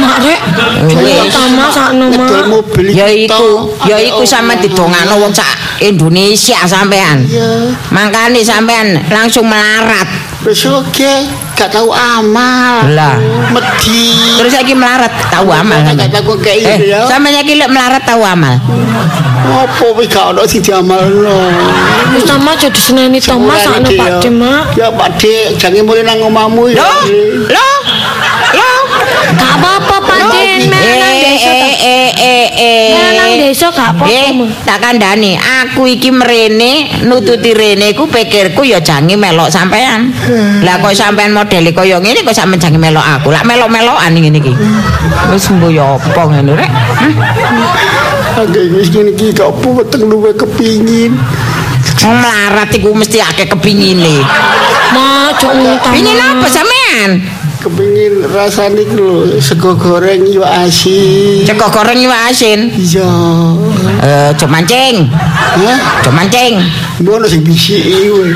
D: Mak rek. Coba sama sakno, Mak.
F: Ngedol mobil
C: Ya iku,
F: tok,
C: ya
F: ambek
C: iku sampean
F: omah.
C: didongakno wong sak Indonesia sampean.
F: Iya.
C: Mangkane sampean langsung melarat.
F: Wis oke, gak tau amal.
C: Lah.
F: Medhi.
C: Terus saiki melarat tahu amal.
F: Gak
C: sampean.
F: tau kei
C: Eh,
F: ya.
C: sampean iki lek melarat tahu amal.
F: Apa wis gak ono sing diamalno.
D: Wis ta, Mak jadi seneni to, Mak sakno
F: Dik,
D: Pak
F: ya.
D: De, Mak.
F: Ya Pak Dik, jange mulih nang omahmu ya.
C: Loh, loh. Loh.
D: Gak apa-apa, Pak De.
C: Eh,
D: Melang
C: eh,
D: desa ta.
C: eh, eh, eh, eh.
D: Melang desa gak apa-apa,
C: Eh,
D: Mak.
C: tak kandhani, aku iki mrene nututi rene ku pikirku ya jange melok sampean.
D: Hmm.
C: Lah kok sampean modele kaya ngene kok sampean jange melok aku. Lah melok-melokan ngene iki. Wis mbo ya apa ngene rek. Hah?
F: Aku wis ngene iki gak apa weteng luwe kepingin.
C: Wong melarat iku mesti akeh kepingine.
D: Mak, jok ngono ta.
C: Pingin
D: Mak.
C: apa sampean?
F: Kepingin rasane iki lho, sego goreng yo asin.
C: Cekok goreng iwak asin.
F: Iya.
C: Eh, jo mancing.
F: Hah?
C: Jo mancing.
F: Ngono sing bisiki kowe.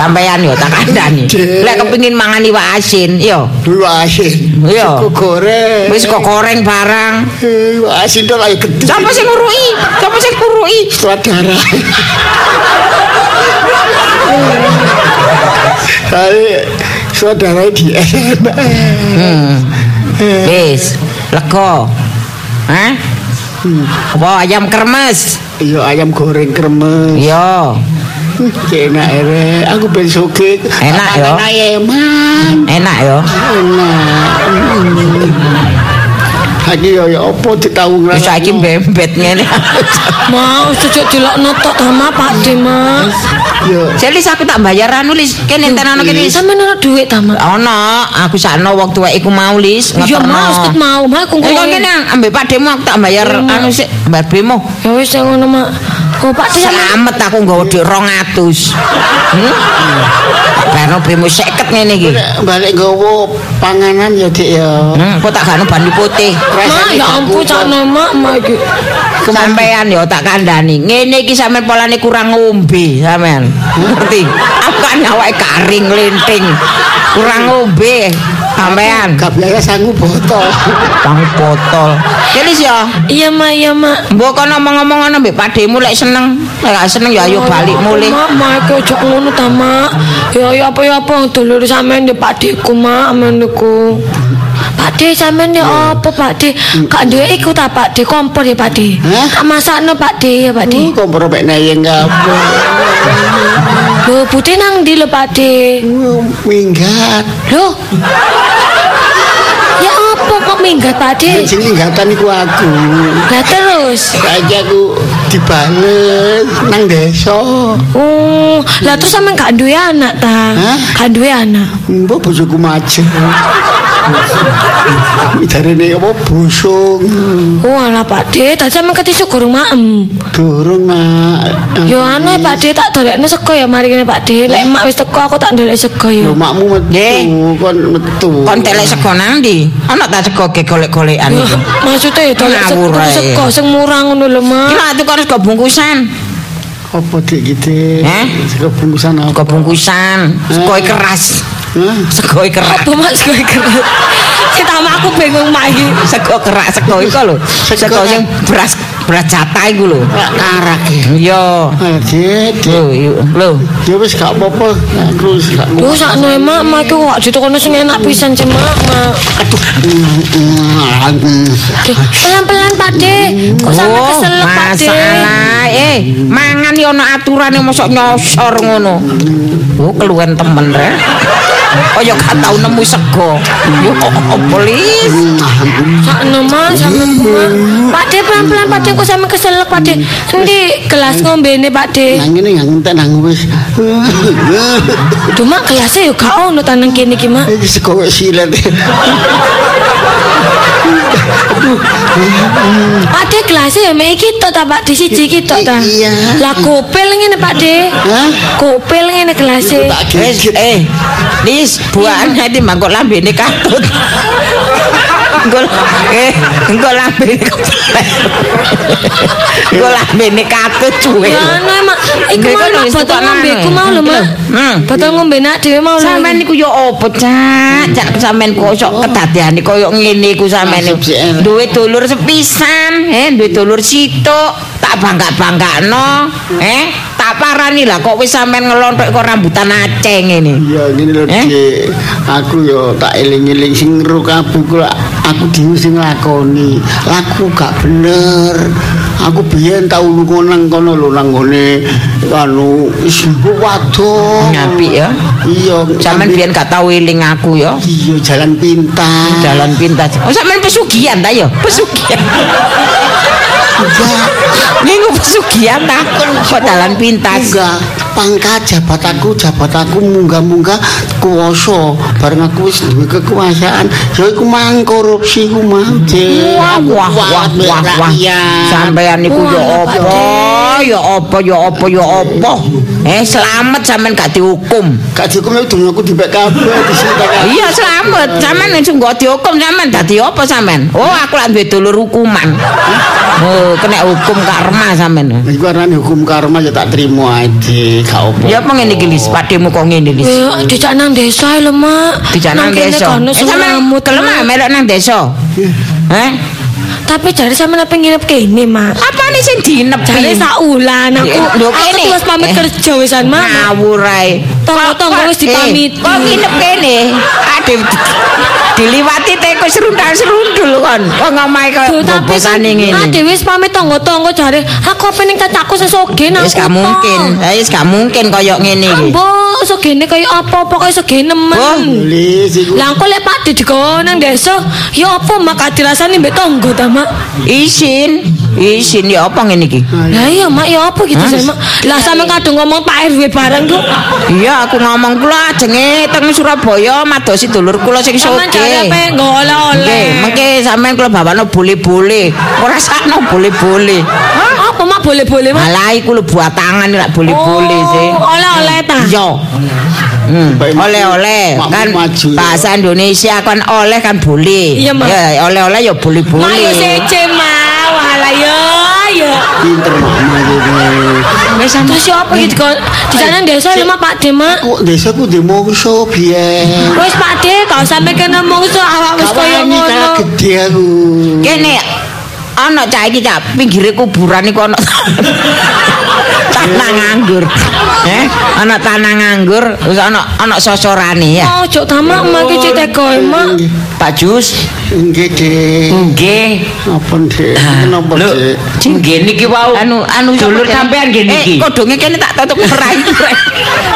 C: Sampean yo tak kandhani. Lek kepingin mangan iwak asin, yo.
F: Dulu asin.
C: Iya.
F: Sego goreng.
C: Wis kok goreng barang.
F: Eh, iwak asin to lagi gede.
C: Siapa sing nguruki? Siapa sing nguruki?
F: sutradara. Tapi sutradara di SMS.
C: Hmm.
F: Eh,
C: Wis, lega. Hah? Apa ayam kremes?
F: Iya ayam goreng kremes.
C: Yo,
F: Hmm, cek Enak ere. Aku ben sugih.
C: Enak, yo.
F: Makanan Eman.
C: enak yo.
F: Enak. Hmm. Lagi yo yo opo ditahu
C: Wis
F: ngrasa.
C: saiki bembet ngene.
D: Mak, wis jok dilokno tok ta, Mak, Pak De, Mak.
F: Yo.
C: Jelis aku tak bayar anu lis, kene enten ana kene lis.
D: Sampeyan ora duit ta, Mak?
C: Ono, aku sakno wong tuwek iku mau lis,
D: Ya, Mak, wis ket
C: ngeterno.
D: mau, Mak, aku
C: Eh, Kok
D: ngomong.
C: kene ambek Pak Demo aku tak bayar
D: Iya, Mak.
C: anu sik, bayar bemo.
D: Ya wis ya ngono, Mak. Kok Pak De sampeyan-
C: Selamat aku nggawa dhuwit 200. Hmm? Bayarno bemo 50 ngene iki.
F: Balik gowo panganan ya dik ya.
C: Hmm, kok tak gak banyu putih.
D: Mak, ya ampun, sakno, Mak, Mak iki.
C: Sampean yo tak kandhani. Ngene iki sampean polane kurang ngombe sampean. Ngerti? Aku kan awake garing linting. Kurang ngombe sampean.
F: Gak biasa sangu botol.
C: Kang botol. Jelis yo.
D: Iya, Mak, iya, Mak.
C: Mbok kon ngomong-ngomong ana mbek padhemu lek seneng. Lek gak seneng yo ayo
D: Oh,
C: balik
D: ya ampun,
C: mulih.
D: Mak, Mak, iki ojo ngono ta, Mak. Ya ya apa ya apa dulur sampean ndek Pak Deku, Mak, amen niku. Pak De sampean ya apa Pak De? Kak duwe iku ta Pak De kompor ya Pak De.
F: Hah?
D: Kak masakno Pak De ya Pak De.
C: Hmm?
F: Ih, kompor mek nayeng kabeh.
D: Lho, putih nang ndi lho Pak De?
F: Minggat.
D: Lho. Ya apa kok minggat Pak De?
F: Sing ingatan iku aku.
D: Lah terus.
F: Saiki aku dibales nang desa.
D: Oh, lah terus sampean gak duwe anak ta?
F: Hah?
D: Gak duwe anak.
F: Mbok bojoku majeng. Jarene apa busung.
D: Wah lah Oh, Pak D, tadi sampean ketisuk gorong maem.
F: Durung nak.
D: Yo anu ya, Pak D tak dolekno sego ya mari kene Pak D. Lek emak wis teko aku tak dolek sego ya.
F: Yo makmu
C: Nggih.
F: metu, kon metu.
C: Kon telek sego nang ndi? Ana tak sego ge golek-golekan
D: Yo,
C: iki.
D: Maksudnya ya dolek sego
C: Ngawur ae.
D: sego sing murah ngono lho
C: Ki
D: Mak.
C: lak tuku harus go bungkusan.
F: Apa dik gitu?
C: Heh?
F: Sego bungkusan
C: Go
F: apa?
C: bungkusan, sego
F: Eh.
C: keras.
F: Hah?
D: Hmm.
C: Sego keras.
D: Apa Mak sego keras? Kita mak aku bingung Mak iki.
C: Sego kerak sego iku lho. Sego sing beras beras jatah iku lho.
F: Karak.
E: e.
C: Yo.
F: Ayo dik, dik.
C: Lho, yo- lho.
F: Ya wis gak apa-apa. Aku wis gak
D: Duh sakno ya, Mak, Mak iki kok ditekono sing enak pisan cemak Mak. Duh, Pelan-pelan Pak D. Kok sampe
C: Oh,
D: keselak Pak D.
C: masalah eh mangan yo ono aturane mosok nyosor ngono. Oh, keluwen temen re. Kaya Oh, gak tau nemu sego. Yo polis.
D: Sakno Mak, sakno Mak. Pak D pelan-pelan Pak D kok sampe keselak Pak D. Endi gelas ngombene Pak D.
C: Eh.
F: Nang ngene nggak ngentek nang wis.
D: Duh Mak gelasnya yo gak ono tanang kene iki Mak.
F: Iki sego wis silet.
D: Pak D gelasnya ya mek iki tok ta Pak D siji iki tok ta.
F: Iya.
D: Lah kopel ngene Pak D.
F: Hah?
D: Kopel ngene gelasnya.
F: Tak
C: Wis
F: gigit.
C: eh Lis
D: Hmm.
C: buahan hati mangkok lambene katut. Engko eh engko lambene kepleset. Engko lambene katut cuwe.
D: Ya anu emak, iku
C: Nggih,
D: mau
C: kan
D: nak
C: wis
D: botol
C: tekonan,
D: ngombe
C: eh.
D: ku mau lho mak.
C: Hmm.
D: Botol ngombe nak dhewe mau lho.
C: Sampeyan niku yo opo, Cak? Cak sampeyan kosok kedadeane koyo ngene iku sampeyan.
F: Masuk sih, enak.
C: Duwe dulur sepisan, eh duwe dulur sitok, tak bangga-banggakno, eh tak parani lah kok wis sampeyan ngelontok kok rambutan aceh ngene.
F: Ya ngene lho
C: Eh?
F: Dik. Aku yo tak eling-eling sing ngero kabeh ku lak aku dhewe sing lakoni. Laku gak bener. Aku biyen tau lunga nang kono lho nang ngone anu wis waduh.
C: Apik ya.
F: Iya,
C: Sampeyan
F: ngambil-
C: biyen gak tau eling aku yo.
F: Iya jalan pintas.
C: Jalan pintas. Oh sampeyan pesugihan ta yo? Pesugihan.
F: Enggak,
C: Niku pesugihan ta. Kok dalan pintas.
F: enggak. Pangkat jabat aku, jabat aku munggah-munggah kuwasa. Bareng aku wis duwe kekuasaan, ya iku mang korupsi ku mang. Dik.
C: Wah wah wah
F: Kuat,
C: wah wah.
F: rakyat.
C: Sampeyan niku yo
D: Wah, Pak
C: apa? Yo apa yo apa yo apa? Eh selamat sampean gak dihukum.
F: Kak Joko mau dulu aku dibek kabel di sini tak kabeh.
C: Iya selamat, sampean langsung gak dihukum sampean dadi apa sampean? Oh aku lak duwe dulur hukuman. Oh kena hukum kak remah sampean.
F: Nah, Iku arane hukum karma ya tak trimo ae, gak apa.
C: Ya apa ngene iki Lis, padhemu kok ngene Lis.
D: Ya dijak nang desa lho mak.
C: Dijak nang
D: kene
C: desa.
D: kono
C: Eh, sampean
D: sulamut,
C: gelem ah
D: Mak.
C: melok nang desa. Eh, Heh.
D: Tapi jare sampean apa nginep kene mak.
C: Apa nih sing dinepi?
D: Jare saulan aku.
C: Eh, lho,
D: Aku
C: kene.
D: terus pamit
C: Eh.
D: kerja wisan mak.
C: Ngawur ae.
D: Tonggo-tonggo wis dipamiti.
C: Eh, Kok nginep kene? Aduh diliwati teko serundal-serundul kon. Kok ngomahe
D: Duh,
C: koyo
D: tapi kan
C: bobosane
D: Mak
C: Eh, ngene.
D: dhewe wis pamit tonggo-tonggo jare aku apa ning cacakku sing soge nang
C: Wis gak
D: kutho.
C: mungkin. Eh, Wis gak mungkin koyo ngene iki.
D: Ambo sogene kaya apa pokoke sogene
C: Wah,
D: men.
F: Lis iku
D: Lah engko lek Pak digowo nang desa, ya apa mak gak dirasani mbek tangga ta mak?
C: Isin. Isin ya apa ngene iki?
D: Lah iya mak ya apa gitu
C: Hah?
D: saya mak. Lah sampe kadung ngomong Pak RW bareng ku.
C: Iya aku ngomong kula ajenge teng Surabaya madosi dulur kula sing
D: Sampeyan jare
C: soge.
D: apa nggo oleh-oleh.
C: Nggih, mengke sampean kula bawano bole-bole. Ora sakno bole-bole.
D: Apa mak boleh-boleh mak?
C: Malah iku lho buat tangan lak bole-bole sih.
D: Oh, Oleh-oleh ta.
C: Iya. Hmm,
F: Baik,
C: oleh-oleh
F: makmu
C: kan
F: maju, ya.
C: bahasa Indonesia kan oleh kan boleh.
D: Iya, Mak.
C: Ya, oleh-oleh ya
D: Mak yo
C: boleh-boleh.
D: seje mak, walah yo yo.
F: pinter mama iki.
C: Wis
D: Terus ya apa gitu kok di sana desa lho mak Pak De mak.
F: Kok desa ku demongso biyen.
D: Wis Pak De gak usah mikirno mungsu awak wis koyo
F: Kawani kalah
D: ngono.
F: gede aku.
C: Kene ana cah iki cah pinggire kuburan iku ana tanah nganggur. Eh, ana tanah nganggur, terus ana ana sosorane ya.
D: Oh, ojo ta mak mak iki ceteko mak.
C: Pak Jus,
F: Nggih, Dik.
E: Nggih.
F: Apa, Dik?
C: Ah,
F: Kenapa,
E: Lho,
F: Dik?
E: nggih niki wau.
C: anu anu
E: dulur
C: sapa kene?
E: sampean nggih niki.
C: Eh, kodonge kene tak tutup perai.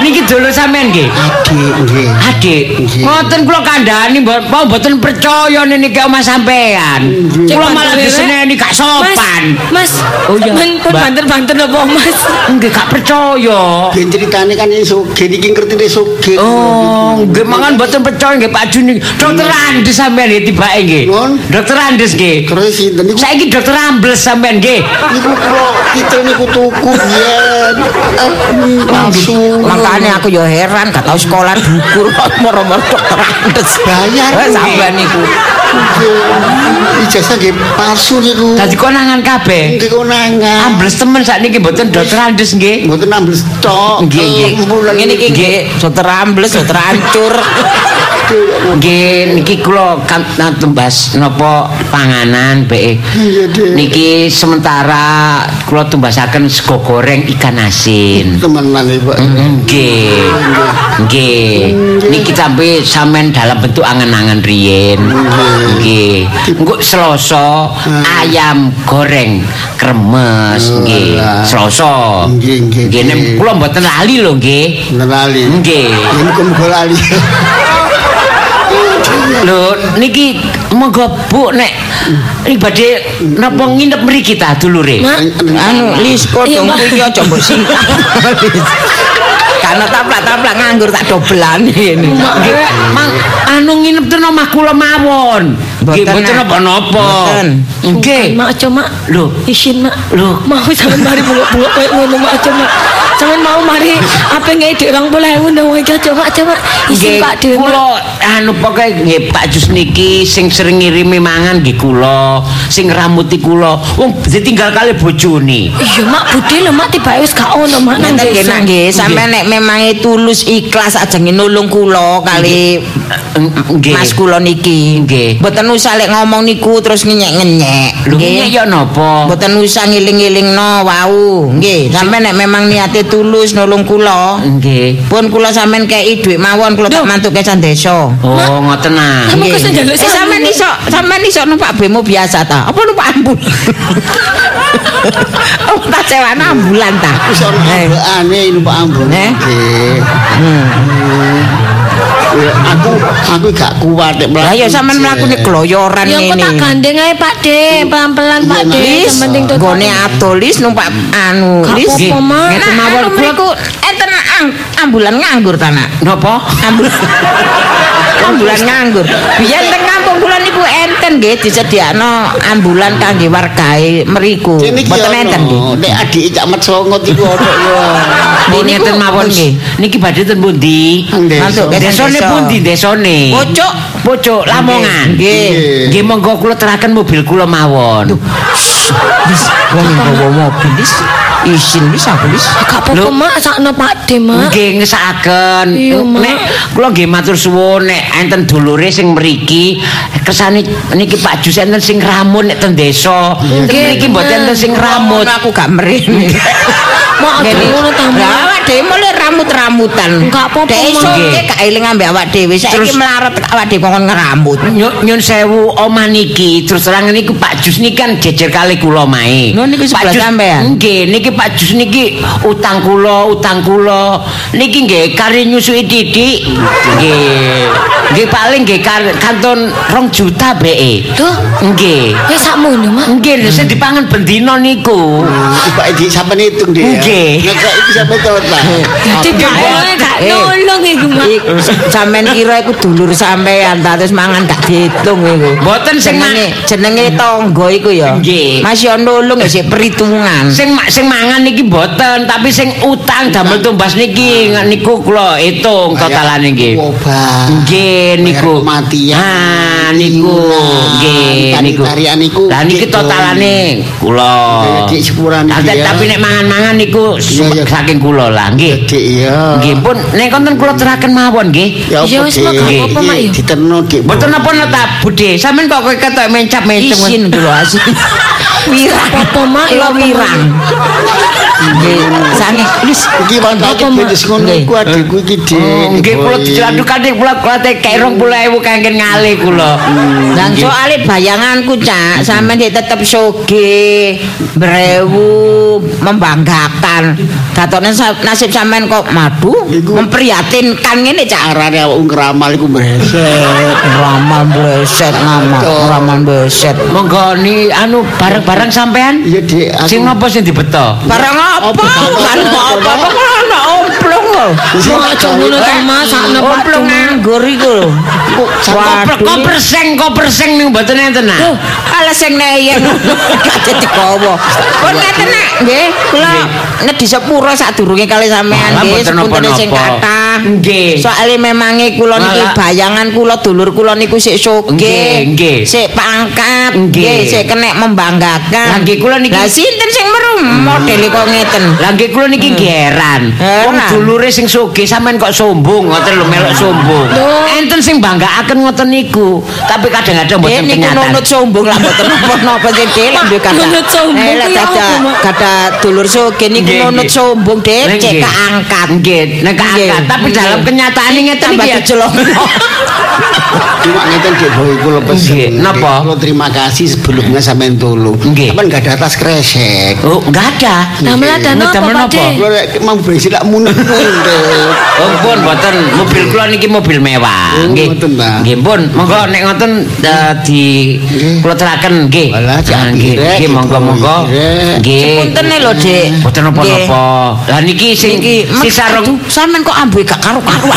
E: Niki sedulur sampean nggih.
A: Adik nggih.
E: Adik,
A: Nggih.
E: ngoten kula kandhani mbok mau mboten percaya niki omah sampean. Kula malah diseneni gak sopan.
D: Mas,
E: Oh, iya.
D: sampean pun
E: Mbak.
D: banter-banter lho Pak Mas.
E: Nggih gak percaya.
A: Ben ceritane kan ini soge niki ngertine soge.
E: Oh, nggih mangan mboten percaya nggih Pak Juni. Dokter Andes sampean nggih tibake nggih.
A: Nun.
E: Dokter Andes nggih.
A: Terus sinten niku?
E: Saiki dokter Ambles sampean nggih.
A: Niku kula titel niku tuku biyen. Eh, iya." Palsu.
E: Oh.
C: Makanya aku yo heran gak tau sekolah buku kok moro-moro dokter Andes.
A: Bayar,
C: Eh,
A: Bu.
C: sampean niku.
A: Nggih. Ijazah nggih palsu niku.
E: Dadi konangan kabeh.
A: Nggih
C: Ah,
A: konangan.
E: Ambles temen sakniki mboten dokter Andes nggih.
A: Mboten nambel stok.
E: Nggih, nggih.
A: Kumpulan
C: Ngene iki nggih, dokter ambles, dokter hancur.
E: Nggih niki kula kan tumbas napa panganan bae.
A: Iya, Dek.
E: Niki sementara kula tumbasaken sego goreng ikan asin.
A: temenan iki, Pak.
E: Nggih. Nggih. Niki sampe sampean dalam bentuk angen-angen riyen. Nggih. Engko Selasa ayam goreng kremes nggih.
A: Alah.
E: Selasa.
A: Nggih, nggih,
E: Nggih nek
A: nggih.
E: kula mboten lali lho nggih.
A: Bener lali.
C: Hmm.
E: Nggih.
A: Ya niku mugo lali.
E: Lho niki monggo Bu nek iki badhe napa nginep mriki ta dulure.
D: Mak,
C: Anu Lisko
D: Iya,
C: dong
D: Mbak.
C: kuwi aja mbok singkat. Karena taplak-taplak nganggur tak dobelani ini.
E: Nggih, Mang anu nginep ten omah kula mawon. Nggih
C: Mboten,
E: mboten
C: Nak.
E: napa-napa.
C: Mboten.
E: Nggih.
D: Bukan, Mak aja Mak.
E: Lho.
D: Isin Mak.
E: Lho.
D: Mau sampean mari buluk-buluk koyo ngono Mak aja Mak. Sampean mau mari apa ngei dik 20.000 nang iki eh, aja Mak aja Mak. Isin
E: Nggih,
D: Pak Dewi. Mak.
E: Kula anu pokoke nggih Pak Jus niki sing sering ngirimi mangan nggih kula, sing ramuti kula. Wong ditinggal kali bojone.
D: Iya Mak Budi lho Mak tibake wis gak ono Mak nang
C: Ngeten nggih
D: desa.
C: nak nggih, sampean nek memang tulus ikhlas ajeng nulung kula kali
E: Nggih.
C: Mas kula niki.
E: Nggih.
C: Mboten usah lek ngomong niku terus ngenyek-ngenyek.
E: Lho niki ya napa?
C: Mboten usah ngiling-ngilingno wau. Nggih, sampean nek memang niate tulus nulung kula.
E: Nggih.
C: Pun kula sampean kei dhuwit mawon kula tak mantuke can desa.
E: Oh, ngoten ah.
D: Kamu
C: Nggih.
D: kok sing njaluk
C: Eh, sampean
D: sambungan?
C: iso sampean iso numpak bemo biasa ta? Apa numpak ambul? Oh, tak sewa ambulan ta.
A: Wis ana
C: Eh,
A: ambekane numpak ambon.
C: Eh. Hmm.
A: Nggih. Ya, Aku aku gak kuat nek mlaku.
C: Lah ya
A: Jen.
C: sampean mlaku nek gloyoran
D: Ya kok
C: ngene.
D: tak gandeng ae Pak De, pelan-pelan Pak
E: Iya,
D: De,
C: Lis,
D: yang penting tuh.
C: gone atulis numpak anu
D: Gak
C: lis.
D: apa-apa, Mak.
C: Ngeten mawon
D: Anu,
C: kula enten ang- ambulan nganggur ta nak.
E: Napa?
C: Ambulan. ambulan nganggur. Biyen teng kampung kula niku enten nggih disediakno ambulan kangge wargae mriku.
A: Jen iki
C: Mboten
A: ana.
C: enten nggih.
A: Oh, Nek adik Cak Mat Songot iku ono ya.
E: Oh,
C: Ini
E: ngeten
C: ku-
E: mawon nggih. Niki badhe ten pundi?
A: Nang desa.
C: Masuk ke
E: Desone
C: desa.
E: pundi desone?
C: Pucuk.
E: Pucuk Lamongan.
C: Nggih.
E: Nggih monggo kula teraken mobil kula mawon.
C: Lis, wong nggawa mobil lis. Isin lis aku lis.
D: Gak apa-apa
E: Lho.
D: Mak, sakno Pak De Mak.
E: Nggih ngesakaken.
D: Iya, Mak.
E: Nek kula nggih matur suwun nek enten dulure sing mriki kersane niki Pak Jus enten sing ramun nek ten desa. Ten
D: Nggih,
E: Mriki mboten enten sing ramut.
C: Ngono aku gak merene.
D: Mak aja
C: Ngene.
D: ngono ta
C: Lah
D: Mak.
C: awak dhewe mulai rambut-rambutan.
D: Enggak apa-apa,
C: Dek iso
D: Mak.
C: e gak eling ambek awak dhewe. Saiki
E: Terus-
C: melarat awak dhewe kok ngerambut.
E: Nyun, nyun sewu omah niki terus terang niku Pak Jus niki kan jejer kali kula mae.
C: Lho, niki
E: Pak
C: sebelah
E: Jus-
C: sampean?
E: Nggih, niki Pak Jus niki utang kula, utang kula. Niki nggih kari nyusui titik. Nggih. Nggih paling nggih kar- kanton 2 juta beke.
D: Duh.
E: Nggih.
D: Ya sakmono Mak.
E: Nggih, lho sing dipangan bendina niku.
A: Pak Edi sampean hitung dia.
E: Nggih.
A: Nek gak iki sampean tawet lah.
D: Jadi gak boleh gak
C: Eh.
D: nolong iku Mak.
C: Sampeyan kira iku dulur sampeyan ta terus mangan gak diitung iku.
E: Mboten sing
C: jenenge jenenge tangga iku ya.
E: Nggih.
C: Mas yo nulung ya sik perhitungan.
E: sing ma- sing mangan niki boten tapi sing utang damel tumbas niki niku kula hitung totalane nggih.
A: Wabah.
E: Nggih niku.
A: Bayar Ah, kematian.
E: Ah niku nggih
A: Tari-
E: niku.
A: tarian niku.
E: Lah niki
A: Gitu.
E: totalane kula.
A: Nggih, dik sepurane
E: Ah,
A: iki ya.
E: Tapi nek mangan-mangan niku
A: Iya,
E: sum-
A: iya.
E: saking kula lah nggih.
A: Dik ya.
E: Nggih pun nek konten kula teraken mawon nggih.
A: Ya
D: Ya
A: apa
D: wis, Mak, gak
A: Dik?
E: apa-apa,
D: Mak, ya.
A: Diterno Dik.
E: Boten napa ta Budhe, sampean kok kok ketok mencap-mencap.
C: Isin kula asin. Wirang.
D: Apa Mak ya
C: Kula
D: apa, Mak?
C: wirang. Nggih. Sange wis
A: Iki pantake
D: Apa, Mak?
A: wis ngono
C: Nggih.
A: iku adikku iki Dik.
E: Oh, Nggih kula
A: Boy.
E: diladukan kula kula teh kae 20.000 kangen ngale kula.
C: Dan soalnya bayanganku cak, sampe dia tetep soge, berewu, membanggakan. kesehatan. Datone sa- nasib sampean kok madu
A: Iku-
C: memprihatinkan ngene Cak.
A: arane awakmu ngramal iku mbeset.
C: Ramal bleset nama, ramal bleset.
E: Monggo ni anu barang-barang sampean.
A: Iya, Dik. aku-
E: Sing napa sing dibeto?
C: Barang apa? Kan apa-apa kok ana omplong kok.
A: Sing
D: Ojo ngono ta,
C: eh,
D: Mas. Sakno Pak
C: Omplong
D: Dung.
E: ah.
C: nganggur iku lho.
E: Koper kok perseng kok perseng ning mboten enten ah. nah.
C: Ala sing neyen gak dadi kowo. Pun ngeten nak nggih, kula nedhi sepura sadurunge kali sampean
E: Malah
C: nggih
E: mboten
C: sepuntene sing
E: napa-napa.
C: kathah.
E: Nggih.
C: Soale memange kula niki
E: Malah-
C: bayangan kula dulur kula niku sik
E: Nggih,
C: soge.
E: nggih.
C: Sik pangkat,
E: Nggih.
C: nggih, sik kenek membanggakan.
E: Lah, nggih, kula niki-
C: Lah sinten sing merem modele kok ngeten.
E: Lah nggih kula niki geran. Wong
C: Heran.
E: dulure sing sugih sampean kok sombong ngoten lho melok sombong. Enten sing banggaaken ngoten niku, tapi
C: Eh
E: kadang-kadang mboten
C: niku
E: kenyataan.
C: nunut sombong lah mboten napa-napa sing dhewe lah duwe kata.
D: Nunut sombong
C: Eh lah
D: ku ya
C: kada
D: apa, Mak?
C: kada dulur soge niku
E: Nggih,
C: nunut
E: nggih.
C: sombong
E: Nggih,
C: dhewe cek
E: nggih.
C: keangkat.
E: Nggih, nek angkat, tapi dalam kenyataan ini ngeten
C: tambah
E: iki ya.
C: dijelokno.
A: Cuma ngeten Dik Boy kula
E: Nggih,
A: pesen.
E: napa?
A: Kula terima kasih sebelumnya sampean tolong.
E: Nggih.
A: Sampean enggak ada tas kresek.
E: Oh, enggak ada.
D: Damelan dan
E: Nggih,
D: apa,
E: damelan
D: Pak
E: apa?
D: Dik?
A: Kula lek mau bensin lak munek.
E: Oh, pun mboten mobil kula niki mobil mewah.
A: Oh,
E: Nggih.
A: ngoten ta.
E: Nggih, pun monggo nek ngoten eh, di
A: Nggih.
E: kula teraken nggih.
A: Walah,
E: Ah,
A: jangan
E: Nggih,
A: direk,
E: nggih, monggo-monggo.
A: direk.
E: Nggih.
C: Puntene lho, Dik.
E: Mboten napa-napa. Lah niki sing
C: Iki
E: si sarung
C: sampean kok ambuhe gak karu-karuan.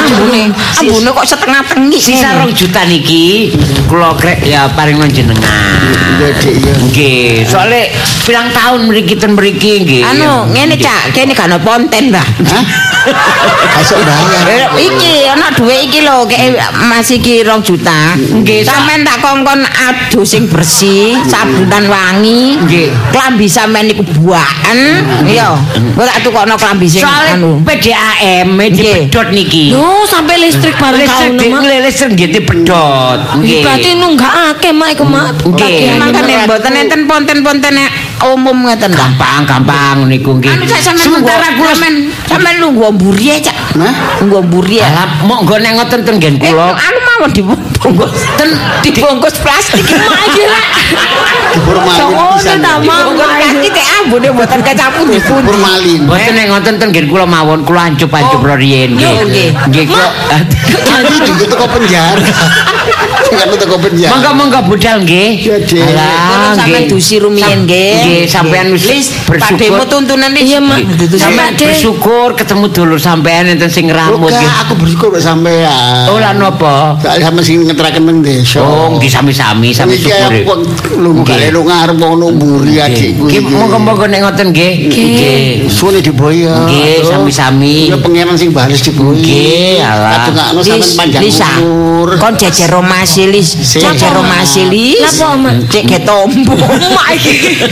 C: Ambune, ambune kok setengah tengi.
E: sisa rong juta niki kula krek ya paring jenengan.
A: Iya, Dik, iya.
E: Nggih, soalé pirang tahun mriki ten mriki nggih.
C: Anu, ngene Cak, kene gak ana ponten ta.
A: Hah? Kasuk
C: Eh,
A: bayar.
C: iki ana dhuwit iki lho kek Mas iki 2 juta. Nggih, sampean tak kongkon adu sing bersih, sabunan wangi.
E: Nggih.
C: Klambi sampean niku buaken, iya. Kok tak tukokno klambi sing
E: Soalé
C: anu.
E: PDAM
C: Nggih.
E: dipedhot niki.
D: Yo sampai listrik bareng kau
E: Listrik di-
D: nama.
E: listrik nggih dipedhot. Nggih.
D: Berarti nunggak akeh mak iku mak.
E: Nggih.
C: Emang kan
D: Tagihannya.
C: Eh, mboten enten ponten-ponten umum ngeten ta.
E: gampang gampang niku nggih
C: Anu sak sampean
E: sementara kula
C: sampean sampean lungguh mburi ae, Cak.
A: Hah?
C: Lungguh mburi ae.
E: Alah, monggo nek ngoten ten nggen
C: Eh,
E: kula
C: anu mawon dibungkus, ten dibungkus plastik iki mak iki lah.
A: Formalin pisan.
D: Soalnya tamu
C: Dibungkus plastik teh ambune mboten kecapun dipun.
A: Formalin.
E: Mboten nek ngoten ten nggen kula mawon kula ancup-ancup oh. riyen nggih.
C: Yo, nggih.
E: Nggih kula.
A: Jadi juga teko penjara. Enggak teko penjara.
E: Monggo-monggo budal nggih.
A: Ya, Dik.
C: Kono
E: Alah
C: sampean
E: nggih.
C: dusi rumiyin nggih.
E: Nggih sampean wis
C: Padhemu
E: bersyukur.
C: tuntunan iki.
D: Iya, Mak.
C: Dudu
D: Sampean
E: Sampean
D: Dik.
E: bersyukur ketemu dulur sampean enten sing ngramut
A: Enggak,
E: nggih.
A: aku bersyukur mbak sampean.
E: Oh lah napa?
A: Soalnya sama sing ngeteraken nang desa.
E: Oh, nggih sami-sami
A: Tapi
E: sami
A: iki
E: syukur.
A: aku lungo
E: Nggih.
A: kali lu ngarep wong numburi adikku.
E: Nggih
A: iki.
E: monggo-monggo nek ngoten nggih. Nggih.
A: Suwene diboyo.
E: Nggih, sami-sami.
A: Ya pengeran sing baris diboyo.
E: Nggih, alah.
A: Kadungakno sampean panjang
C: Lisa,
A: umur.
C: kon jejer romasilis,
A: Sik.
C: jejer romasilis.
D: Napa, Mak?
C: Cek getombo. Mak iki.